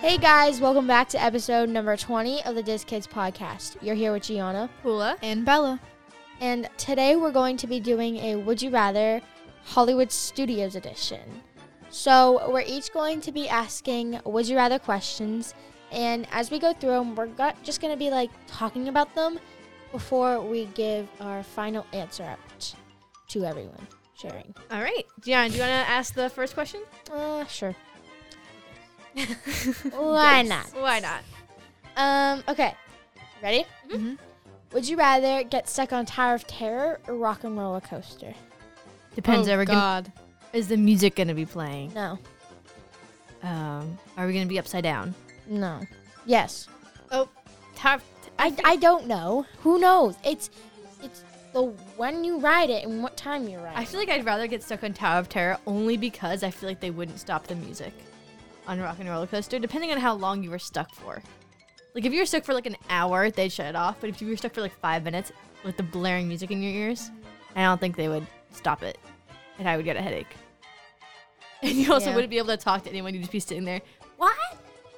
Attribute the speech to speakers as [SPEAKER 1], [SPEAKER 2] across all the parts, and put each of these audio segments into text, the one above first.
[SPEAKER 1] Hey guys, welcome back to episode number 20 of the Diz Kids podcast. You're here with Gianna,
[SPEAKER 2] Hula.
[SPEAKER 3] and Bella.
[SPEAKER 1] and today we're going to be doing a Would You Rather Hollywood Studios edition. So, we're each going to be asking Would You Rather questions, and as we go through them, we're go- just going to be like talking about them before we give our final answer out to everyone sharing.
[SPEAKER 2] All right. Gian, do you want to ask the first question?
[SPEAKER 1] Uh, sure. Why not?
[SPEAKER 2] Why not?
[SPEAKER 1] Um, okay. Ready?
[SPEAKER 3] Mhm.
[SPEAKER 1] Would you rather get stuck on Tower of Terror or Rock and Roller Coaster?
[SPEAKER 3] Depends.
[SPEAKER 2] Oh,
[SPEAKER 3] are we gonna,
[SPEAKER 2] God.
[SPEAKER 3] is the music gonna be playing?
[SPEAKER 1] No.
[SPEAKER 3] Um, are we gonna be upside down?
[SPEAKER 1] No. Yes.
[SPEAKER 2] Tower,
[SPEAKER 1] I, I don't know. Who knows? It's it's the when you ride it and what time you ride.
[SPEAKER 3] I
[SPEAKER 1] it.
[SPEAKER 3] feel like I'd rather get stuck on Tower of Terror only because I feel like they wouldn't stop the music on Rock and Roller Coaster, depending on how long you were stuck for. Like if you were stuck for like an hour, they'd shut it off. But if you were stuck for like five minutes with the blaring music in your ears, I don't think they would stop it, and I would get a headache. And you also
[SPEAKER 1] Yeah.
[SPEAKER 3] wouldn't be able to talk to anyone. You'd just be sitting there, what?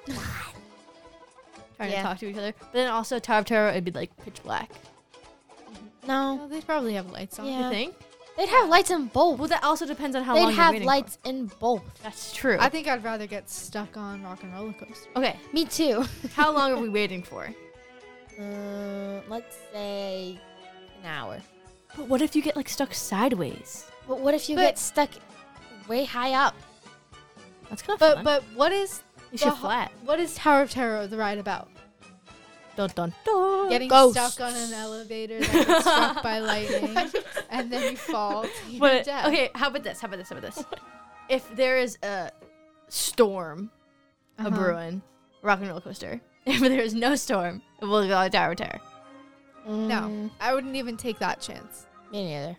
[SPEAKER 3] What?" Trying
[SPEAKER 1] Yeah.
[SPEAKER 3] to talk to each other. But then also Tower of Terror, it'd be like pitch black.
[SPEAKER 1] no.
[SPEAKER 2] they probably have lights
[SPEAKER 1] on.
[SPEAKER 2] on.
[SPEAKER 1] Yeah.
[SPEAKER 3] You think?
[SPEAKER 1] They'd have lights in both.
[SPEAKER 3] Well, that also depends on how long
[SPEAKER 1] They'd
[SPEAKER 3] you're
[SPEAKER 1] have
[SPEAKER 3] waiting for.
[SPEAKER 1] lights in both.
[SPEAKER 3] That's true.
[SPEAKER 2] I think I'd rather get stuck on Rock and Roller Coaster.
[SPEAKER 3] okay.
[SPEAKER 1] Me too.
[SPEAKER 3] How long are we waiting for?
[SPEAKER 1] Uh, let's say an hour.
[SPEAKER 3] But what if you get like stuck sideways?
[SPEAKER 1] But what if you
[SPEAKER 2] But-
[SPEAKER 1] get stuck way high up?
[SPEAKER 3] That's kind of
[SPEAKER 2] But
[SPEAKER 3] fun.
[SPEAKER 2] but what is
[SPEAKER 3] you
[SPEAKER 2] the
[SPEAKER 3] should
[SPEAKER 2] ho-
[SPEAKER 3] flat.
[SPEAKER 2] what is Tower of Terror the ride about?
[SPEAKER 3] Dun dun dun.
[SPEAKER 2] Getting
[SPEAKER 1] ghosts.
[SPEAKER 2] stuck on an elevator that gets struck by lightning and then you fall to your
[SPEAKER 3] But
[SPEAKER 2] death.
[SPEAKER 3] okay, how about this? How about this? How about this? if there is a storm, a
[SPEAKER 2] Uh-huh.
[SPEAKER 3] Bruin, rock and roller coaster. If there is no storm, we'll go to Tower of Terror. Mm.
[SPEAKER 2] No, I wouldn't even take that chance.
[SPEAKER 1] Mm, Me neither.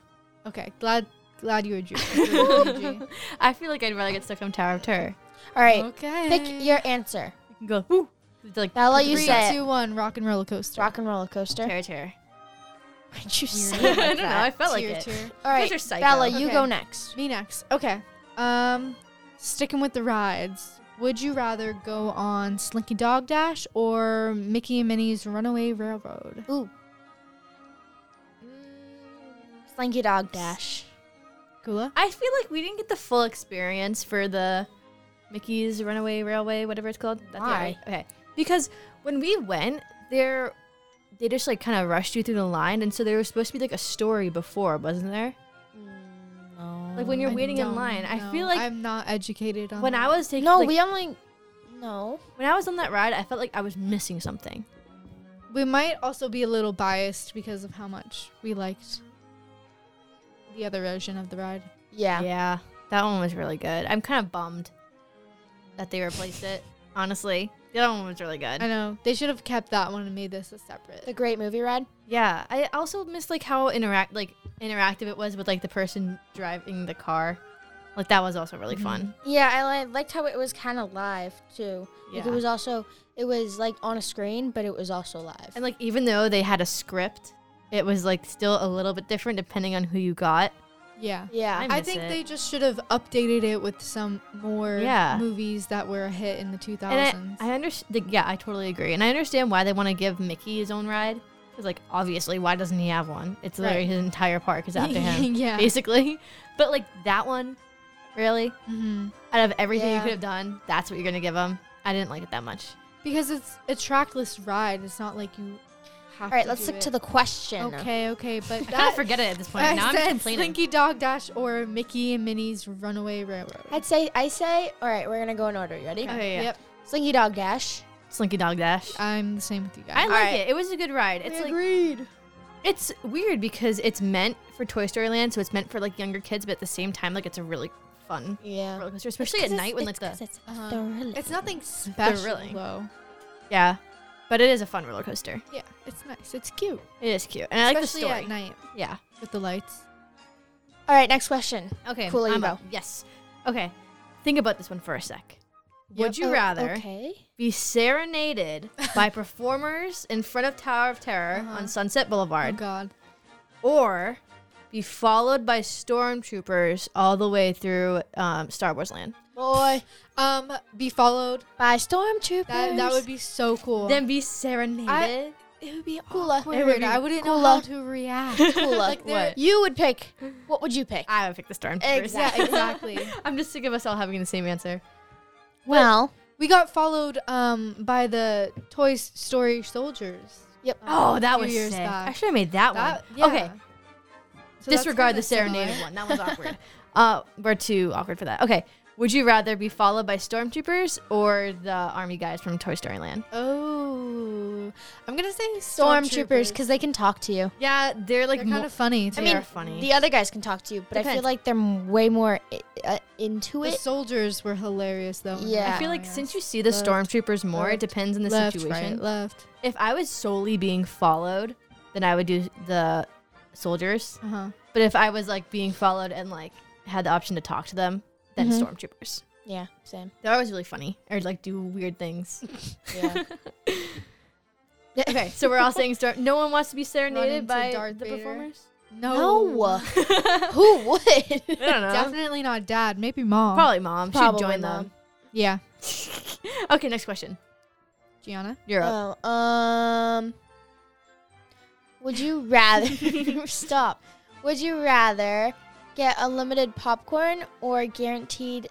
[SPEAKER 2] Okay, glad glad you were Drew.
[SPEAKER 3] I feel like I'd rather get stuck on Tower of Terror.
[SPEAKER 1] All
[SPEAKER 3] Mm-hmm.
[SPEAKER 1] right.
[SPEAKER 2] okay.
[SPEAKER 1] Pick your answer.
[SPEAKER 3] I can go. Woo. It's like
[SPEAKER 1] Bella,
[SPEAKER 2] Three,
[SPEAKER 1] you said
[SPEAKER 2] two, one, Rock and Roller Coaster.
[SPEAKER 1] rock and roller coaster.
[SPEAKER 3] Terror Terror.
[SPEAKER 1] Why'd you
[SPEAKER 2] Weird.
[SPEAKER 1] say
[SPEAKER 3] I
[SPEAKER 1] it like
[SPEAKER 3] don't know. I
[SPEAKER 1] that?
[SPEAKER 3] felt like
[SPEAKER 2] Tier,
[SPEAKER 3] it.
[SPEAKER 2] tier.
[SPEAKER 1] All right,
[SPEAKER 3] are psycho.
[SPEAKER 1] Bella, you
[SPEAKER 2] Okay.
[SPEAKER 1] go next.
[SPEAKER 2] Me next. Okay. Um, sticking with the rides. Would you rather go on Slinky Dog Dash or Mickey and Minnie's Runaway Railroad?
[SPEAKER 1] Ooh, Slinky Dog Dash.
[SPEAKER 2] Gula.
[SPEAKER 3] I feel like we didn't get the full experience for the Mickey's Runaway Railway, whatever it's called. the
[SPEAKER 1] Why?
[SPEAKER 3] right? Okay. Because when we went, there they just like kind of rushed you through the line, and so there was supposed to be like a story before, wasn't there?
[SPEAKER 1] Mm, No.
[SPEAKER 3] Like when you're
[SPEAKER 2] I
[SPEAKER 3] waiting in
[SPEAKER 2] don't
[SPEAKER 3] line. I feel
[SPEAKER 2] know.
[SPEAKER 3] like
[SPEAKER 2] I'm not educated on.
[SPEAKER 3] when I
[SPEAKER 2] that.
[SPEAKER 3] was taking
[SPEAKER 1] Uh-huh. no,
[SPEAKER 3] like,
[SPEAKER 1] we only. No.
[SPEAKER 3] when I was on that ride, I felt like I was missing something.
[SPEAKER 2] we might also be a little biased because of how much we liked the other version of the ride.
[SPEAKER 1] Yeah.
[SPEAKER 3] yeah that one was really good. I'm kind of bummed that they replaced it. Honestly, the other one was really good.
[SPEAKER 2] I know they should have kept that one and made this a separate.
[SPEAKER 1] The Great Movie Ride.
[SPEAKER 3] Yeah, I also miss like how interact like interactive it was with like the person driving the car. Like that was also really fun.
[SPEAKER 1] Yeah, I li- liked how it was kind of live too. Like
[SPEAKER 3] Yeah.
[SPEAKER 1] it was also it was like on a screen, but it was also live.
[SPEAKER 3] And like even though they had a script, it was like still a little bit different depending on who you got.
[SPEAKER 2] yeah.
[SPEAKER 1] yeah.
[SPEAKER 3] I'm-
[SPEAKER 2] I
[SPEAKER 3] miss
[SPEAKER 2] think
[SPEAKER 3] it.
[SPEAKER 2] they just should have updated it with some more
[SPEAKER 3] Yeah.
[SPEAKER 2] movies that were a hit in the 2000s.
[SPEAKER 3] And I, I understand. Yeah, I totally agree. And I understand why they want to give Mickey his own ride. Cause like obviously, why doesn't he have one? It's literally
[SPEAKER 2] Right.
[SPEAKER 3] his entire park is after him,
[SPEAKER 2] yeah.
[SPEAKER 3] basically. But like that one, really,
[SPEAKER 2] hmm
[SPEAKER 3] out of everything
[SPEAKER 1] Yeah.
[SPEAKER 3] you could have done, that's what you're gonna give him. I didn't like it that much.
[SPEAKER 2] Because it's a trackless ride. It's not like you have
[SPEAKER 1] All right,
[SPEAKER 2] to
[SPEAKER 1] let's
[SPEAKER 2] do
[SPEAKER 1] stick
[SPEAKER 2] it.
[SPEAKER 1] to the question.
[SPEAKER 2] Okay, okay, but
[SPEAKER 3] I kind
[SPEAKER 2] that
[SPEAKER 3] of forget it at this point.
[SPEAKER 2] I
[SPEAKER 3] now I'm just
[SPEAKER 2] said
[SPEAKER 3] complaining.
[SPEAKER 2] Slinky Dog Dash or Mickey and Minnie's Runaway Railroad.
[SPEAKER 1] I'd say I say all right. We're gonna go in order. You ready?
[SPEAKER 3] Okay, Oh, yeah.
[SPEAKER 2] Yep,
[SPEAKER 1] Slinky Dog Dash.
[SPEAKER 3] Slinky Dog Dash.
[SPEAKER 2] I'm the same with you
[SPEAKER 3] I
[SPEAKER 2] guys.
[SPEAKER 3] like
[SPEAKER 1] Alright.
[SPEAKER 3] it. It was a good ride. It's like
[SPEAKER 2] agreed.
[SPEAKER 3] it's weird because it's meant for Toy Story Land, so it's meant for like younger kids, but at the same time, like it's a really fun
[SPEAKER 1] Yeah.
[SPEAKER 3] roller coaster, especially at night when like the
[SPEAKER 1] it's
[SPEAKER 2] Uh-huh.
[SPEAKER 1] thrilling.
[SPEAKER 2] It's nothing special
[SPEAKER 3] Thrilling.
[SPEAKER 2] though.
[SPEAKER 3] yeah. But it is a fun roller coaster.
[SPEAKER 2] Yeah, it's nice. It's cute.
[SPEAKER 3] It is cute, and I like the
[SPEAKER 2] Especially
[SPEAKER 3] story.
[SPEAKER 2] at night
[SPEAKER 3] Yeah.
[SPEAKER 2] with the lights.
[SPEAKER 1] All right, next question.
[SPEAKER 3] Okay.
[SPEAKER 1] Cool, you
[SPEAKER 3] I'm
[SPEAKER 1] go.
[SPEAKER 3] up. Yes. Okay. Think about this one for a sec. Would you
[SPEAKER 1] Oh,
[SPEAKER 3] rather
[SPEAKER 1] Okay.
[SPEAKER 3] be serenaded by performers in front of Tower of Terror
[SPEAKER 2] Uh-huh.
[SPEAKER 3] on Sunset Boulevard,
[SPEAKER 2] Oh God.
[SPEAKER 3] or be followed by stormtroopers all the way through um, Star Wars Land.
[SPEAKER 1] boy,
[SPEAKER 2] Um, be followed.
[SPEAKER 1] by stormtroopers.
[SPEAKER 2] That that would be so cool.
[SPEAKER 3] Then be serenaded.
[SPEAKER 2] I- it would be
[SPEAKER 1] Cooler.
[SPEAKER 2] awkward.
[SPEAKER 1] It would be
[SPEAKER 2] I wouldn't know
[SPEAKER 1] cooler.
[SPEAKER 2] how to react.
[SPEAKER 1] cool.
[SPEAKER 3] Like they're- What?
[SPEAKER 1] You would pick. What would you pick?
[SPEAKER 3] I would pick the stormtroopers.
[SPEAKER 1] Exact-
[SPEAKER 2] yeah, exactly.
[SPEAKER 3] I'm just sick of us all having the same answer.
[SPEAKER 1] Well,
[SPEAKER 2] We got followed um by the Toy Story soldiers.
[SPEAKER 1] Yep.
[SPEAKER 2] um,
[SPEAKER 3] Oh,
[SPEAKER 2] a
[SPEAKER 3] that
[SPEAKER 2] few
[SPEAKER 3] was
[SPEAKER 2] years
[SPEAKER 3] sick.
[SPEAKER 2] back.
[SPEAKER 3] I should have made that,
[SPEAKER 2] That-
[SPEAKER 3] one.
[SPEAKER 2] yeah.
[SPEAKER 3] Okay,
[SPEAKER 2] So that's
[SPEAKER 3] disregard
[SPEAKER 2] kinda
[SPEAKER 3] the serenaded
[SPEAKER 2] similar.
[SPEAKER 3] one. That one's awkward. Uh, we're too awkward for that. Okay. Would you rather be followed by stormtroopers or the army guys from Toy Story Land?
[SPEAKER 2] Oh, I'm gonna say
[SPEAKER 1] stormtroopers because they can talk to you.
[SPEAKER 3] Yeah, they're like
[SPEAKER 2] they're kind of funny too.
[SPEAKER 3] I mean, funny.
[SPEAKER 1] The other guys can talk to you, but I feel
[SPEAKER 3] Depends.
[SPEAKER 1] like they're m- way more I- uh, into
[SPEAKER 2] the
[SPEAKER 1] it.
[SPEAKER 2] soldiers were hilarious though. when they
[SPEAKER 1] Yeah.
[SPEAKER 2] were
[SPEAKER 3] I feel like
[SPEAKER 2] following
[SPEAKER 3] since
[SPEAKER 2] us.
[SPEAKER 3] you see the
[SPEAKER 2] Left,
[SPEAKER 3] stormtroopers more,
[SPEAKER 2] left,
[SPEAKER 3] it depends on the
[SPEAKER 2] left,
[SPEAKER 3] situation.
[SPEAKER 2] right, left.
[SPEAKER 3] If I was solely being followed, then I would do the soldiers.
[SPEAKER 2] Uh huh.
[SPEAKER 3] But if I was like being followed and like had the option to talk to them, then
[SPEAKER 2] Mm-hmm.
[SPEAKER 1] Mhm.
[SPEAKER 3] stormtroopers.
[SPEAKER 1] Yeah, same.
[SPEAKER 3] They're always really funny or like do weird things.
[SPEAKER 1] Yeah.
[SPEAKER 3] okay, so we're all saying storm. No one wants to be serenaded
[SPEAKER 2] into
[SPEAKER 3] by
[SPEAKER 2] Darth
[SPEAKER 3] the
[SPEAKER 2] Vader.
[SPEAKER 3] performers.
[SPEAKER 2] No.
[SPEAKER 1] no,
[SPEAKER 3] I
[SPEAKER 1] who would?
[SPEAKER 3] don't know.
[SPEAKER 2] Definitely not dad. Maybe mom.
[SPEAKER 3] Probably mom.
[SPEAKER 1] Probably
[SPEAKER 3] She'd join
[SPEAKER 1] mom.
[SPEAKER 2] Yeah.
[SPEAKER 3] them. Okay, next question.
[SPEAKER 2] Gianna.
[SPEAKER 3] You're up.
[SPEAKER 1] Oh, um, would you rather stop? Would you rather get unlimited popcorn or guaranteed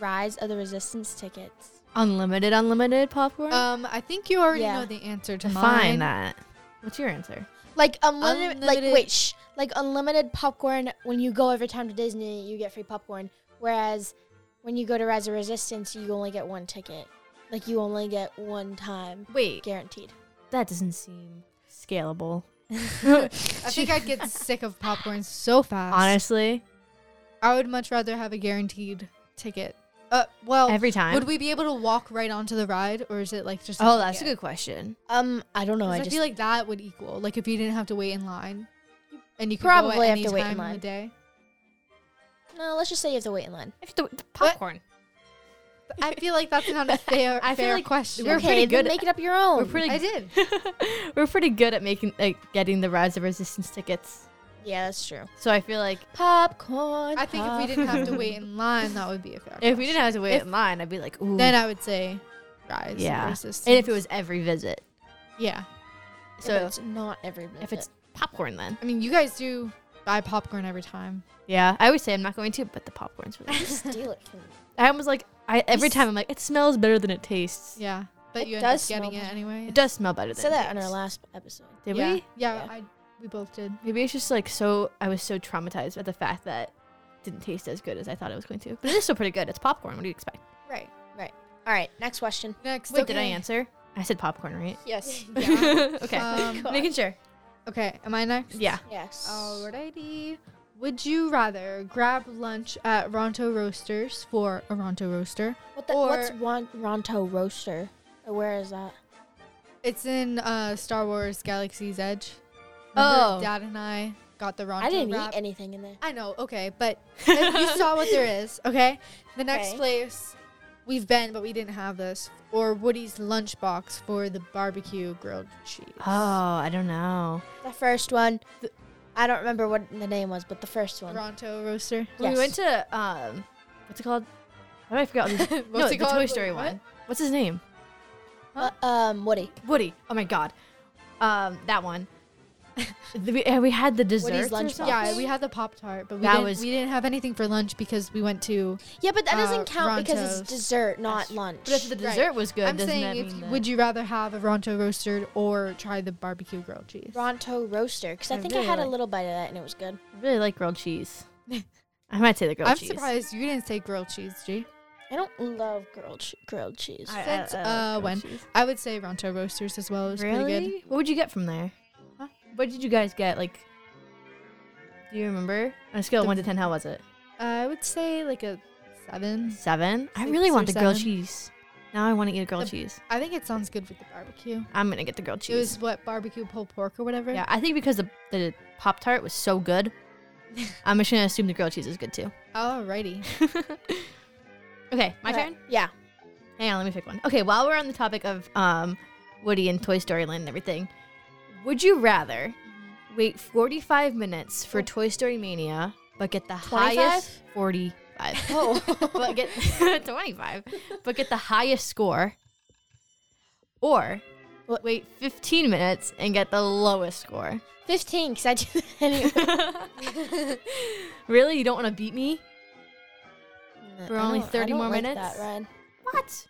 [SPEAKER 1] Rise of the Resistance tickets?
[SPEAKER 3] Unlimited, unlimited popcorn.
[SPEAKER 2] Um, I think you already
[SPEAKER 1] Yeah.
[SPEAKER 2] know the answer to mine.
[SPEAKER 3] Define that. What's your answer?
[SPEAKER 1] Like unlimited, like
[SPEAKER 2] Unlimited-
[SPEAKER 1] wait, shh, like unlimited popcorn. When you go every time to Disney, you get free popcorn. Whereas when you go to Rise of Resistance, you only get one ticket. Like you only get one time,
[SPEAKER 3] Wait,
[SPEAKER 1] guaranteed.
[SPEAKER 3] that doesn't seem scalable.
[SPEAKER 2] I think I'd get sick of popcorn so fast.
[SPEAKER 3] Honestly,
[SPEAKER 2] I would much rather have a guaranteed ticket. Uh, well,
[SPEAKER 3] every time.
[SPEAKER 2] would we be able to walk right onto the ride, or is it like just?
[SPEAKER 3] oh, that's a
[SPEAKER 2] ticket?
[SPEAKER 3] good question.
[SPEAKER 1] Um, I don't know.
[SPEAKER 2] 'Cause
[SPEAKER 1] I
[SPEAKER 2] I,
[SPEAKER 1] just
[SPEAKER 2] feel like that would equal like if you didn't have to wait in line, and you could
[SPEAKER 1] probably
[SPEAKER 2] go at
[SPEAKER 1] have
[SPEAKER 2] any
[SPEAKER 1] to wait in
[SPEAKER 2] time
[SPEAKER 1] line.
[SPEAKER 2] of the day.
[SPEAKER 1] no. Let's just say you have to wait in line.
[SPEAKER 3] If the, the popcorn.
[SPEAKER 2] I feel like that's not a fair,
[SPEAKER 3] I feel
[SPEAKER 2] fair
[SPEAKER 3] like
[SPEAKER 2] question.
[SPEAKER 3] we're- pretty
[SPEAKER 1] okay, then
[SPEAKER 3] good
[SPEAKER 1] make it up your own.
[SPEAKER 3] We're pretty.
[SPEAKER 2] I did.
[SPEAKER 3] Oh, we're pretty good at making like getting the Rise of Resistance tickets.
[SPEAKER 1] Yeah, that's true.
[SPEAKER 3] So I feel like
[SPEAKER 1] Popcorn.
[SPEAKER 2] I think if we didn't have to wait in line, that would be a fair.
[SPEAKER 3] if we didn't have to wait
[SPEAKER 2] If-
[SPEAKER 3] in line, I'd be like, ooh.
[SPEAKER 2] then I would say rise.
[SPEAKER 3] Yeah.
[SPEAKER 2] Yeah,
[SPEAKER 3] and if it was every visit,
[SPEAKER 2] yeah,
[SPEAKER 1] so
[SPEAKER 3] so
[SPEAKER 1] it's not every minute.
[SPEAKER 3] if it's popcorn, then
[SPEAKER 2] I mean, you guys do buy popcorn every time.
[SPEAKER 3] yeah, I always say I'm not going to, but the popcorn's really.
[SPEAKER 1] you steal it from me.
[SPEAKER 3] I almost like I every
[SPEAKER 1] s-
[SPEAKER 3] time I'm like it smells better than it tastes.
[SPEAKER 2] Yeah, but
[SPEAKER 1] It
[SPEAKER 2] you end
[SPEAKER 1] does
[SPEAKER 2] up getting
[SPEAKER 1] smell
[SPEAKER 2] it
[SPEAKER 1] bad.
[SPEAKER 2] anyway.
[SPEAKER 3] It does smell better
[SPEAKER 1] We
[SPEAKER 3] than.
[SPEAKER 1] said
[SPEAKER 3] it
[SPEAKER 1] that in our
[SPEAKER 3] tastes.
[SPEAKER 1] last episode.
[SPEAKER 3] Did
[SPEAKER 2] yeah.
[SPEAKER 3] we?
[SPEAKER 2] Yeah,
[SPEAKER 1] Yeah.
[SPEAKER 2] I we both did.
[SPEAKER 3] Maybe it's just like so. I was so traumatized by the fact that it didn't taste as good as I thought it was going to. But it is still pretty good. It's popcorn. What do you expect?
[SPEAKER 2] Right.
[SPEAKER 1] All right, next question.
[SPEAKER 2] Next.
[SPEAKER 3] Wait, did I
[SPEAKER 2] okay.
[SPEAKER 3] answer? I said popcorn, right?
[SPEAKER 1] Yes.
[SPEAKER 2] Yeah.
[SPEAKER 3] okay.
[SPEAKER 2] Um,
[SPEAKER 1] God.
[SPEAKER 3] Making sure.
[SPEAKER 2] okay. Am I next?
[SPEAKER 3] Yeah.
[SPEAKER 1] yes.
[SPEAKER 2] Alrighty. Would you rather grab lunch at Ronto Roasters for a Ronto Roaster?
[SPEAKER 1] What the,
[SPEAKER 2] Or-
[SPEAKER 1] what's Ron, Ronto Roaster? Or Where is that?
[SPEAKER 2] It's in uh, Star Wars Galaxy's Edge.
[SPEAKER 3] Oh.
[SPEAKER 2] Dad and I got the Ronto
[SPEAKER 1] I didn't
[SPEAKER 2] wrap.
[SPEAKER 1] eat anything in there.
[SPEAKER 2] I know. Okay, but if you saw what there is. Okay. The next
[SPEAKER 1] Okay.
[SPEAKER 2] place we've been, but we didn't have this, or Woody's lunchbox for the barbecue grilled cheese.
[SPEAKER 3] Oh, I don't know.
[SPEAKER 1] The first one. I don't remember what the name was, but the first one.
[SPEAKER 2] Ronto Roaster.
[SPEAKER 1] Yes.
[SPEAKER 3] When we went to um, what's it called? Why did I forget? all these-
[SPEAKER 2] What's
[SPEAKER 3] no, the Toy Story
[SPEAKER 2] What?
[SPEAKER 3] one. What's his name?
[SPEAKER 1] Uh, um, Woody.
[SPEAKER 3] Woody. Oh my god. Um, that one. The- we, uh, we had the dessert.
[SPEAKER 1] lunchbox.
[SPEAKER 2] Yeah, we had the Pop Tart, but we
[SPEAKER 3] That
[SPEAKER 2] didn't,
[SPEAKER 3] was-
[SPEAKER 2] we didn't have anything for lunch because we went to.
[SPEAKER 1] Yeah, but that
[SPEAKER 2] Uh,
[SPEAKER 1] doesn't count because it's
[SPEAKER 2] Rontos.
[SPEAKER 1] dessert, not
[SPEAKER 3] That's-
[SPEAKER 1] lunch.
[SPEAKER 3] But if the
[SPEAKER 2] Right.
[SPEAKER 3] dessert was good,
[SPEAKER 2] I'm
[SPEAKER 3] doesn't that mean
[SPEAKER 2] saying, if,
[SPEAKER 3] that-
[SPEAKER 2] would you rather have a Ronto roasted or try the barbecue grilled cheese?
[SPEAKER 1] Ronto Roaster, because I
[SPEAKER 3] I
[SPEAKER 1] think I
[SPEAKER 3] really
[SPEAKER 1] had a
[SPEAKER 3] like-
[SPEAKER 1] little bite of that and it was good.
[SPEAKER 3] I really like grilled cheese. I might say the grilled
[SPEAKER 2] I'm
[SPEAKER 3] cheese.
[SPEAKER 2] surprised you didn't say grilled cheese, G.
[SPEAKER 1] I don't love grilled che- grilled cheese.
[SPEAKER 3] I- I- I
[SPEAKER 2] Since,
[SPEAKER 3] like
[SPEAKER 2] uh,
[SPEAKER 3] grilled
[SPEAKER 2] when?
[SPEAKER 3] cheese.
[SPEAKER 2] I would say Ronto roasters as well. It was pretty good.
[SPEAKER 3] Really? What would you get from there?
[SPEAKER 2] Huh?
[SPEAKER 3] What did you guys get? Like, do you remember? On a scale of
[SPEAKER 2] The-
[SPEAKER 3] one to ten, how was it?
[SPEAKER 2] Uh, I would say like a seven.
[SPEAKER 3] Seven. I
[SPEAKER 2] Six
[SPEAKER 3] really
[SPEAKER 2] or
[SPEAKER 3] want the grilled
[SPEAKER 2] seven.
[SPEAKER 3] cheese. Now I want to eat a grilled
[SPEAKER 2] The-
[SPEAKER 3] cheese.
[SPEAKER 2] I think it sounds good with the barbecue.
[SPEAKER 3] I'm gonna get the grilled cheese.
[SPEAKER 2] It was what barbecue pulled pork or whatever.
[SPEAKER 3] Yeah, I think because the, the Pop Tart was so good, I'm just gonna assume the grilled cheese is good too.
[SPEAKER 2] Alrighty.
[SPEAKER 3] okay, my
[SPEAKER 1] Okay.
[SPEAKER 3] turn.
[SPEAKER 1] Yeah.
[SPEAKER 3] Hang on, let me pick one. Okay, while we're on the topic of um, Woody and Toy Story Land and everything, would you rather wait 45 minutes for Toy Story Mania but get the
[SPEAKER 1] 25?
[SPEAKER 3] highest 45? five.
[SPEAKER 1] Oh.
[SPEAKER 3] but get twenty-five. But get the highest score. Or
[SPEAKER 1] What?
[SPEAKER 3] wait fifteen minutes and get the lowest score.
[SPEAKER 1] 15, because I do that anyway.
[SPEAKER 3] really, you don't want to beat me? For
[SPEAKER 1] I
[SPEAKER 3] only
[SPEAKER 1] don't- I
[SPEAKER 3] 30
[SPEAKER 1] don't
[SPEAKER 3] more
[SPEAKER 1] like
[SPEAKER 3] minutes?
[SPEAKER 1] That Ryan.
[SPEAKER 3] What?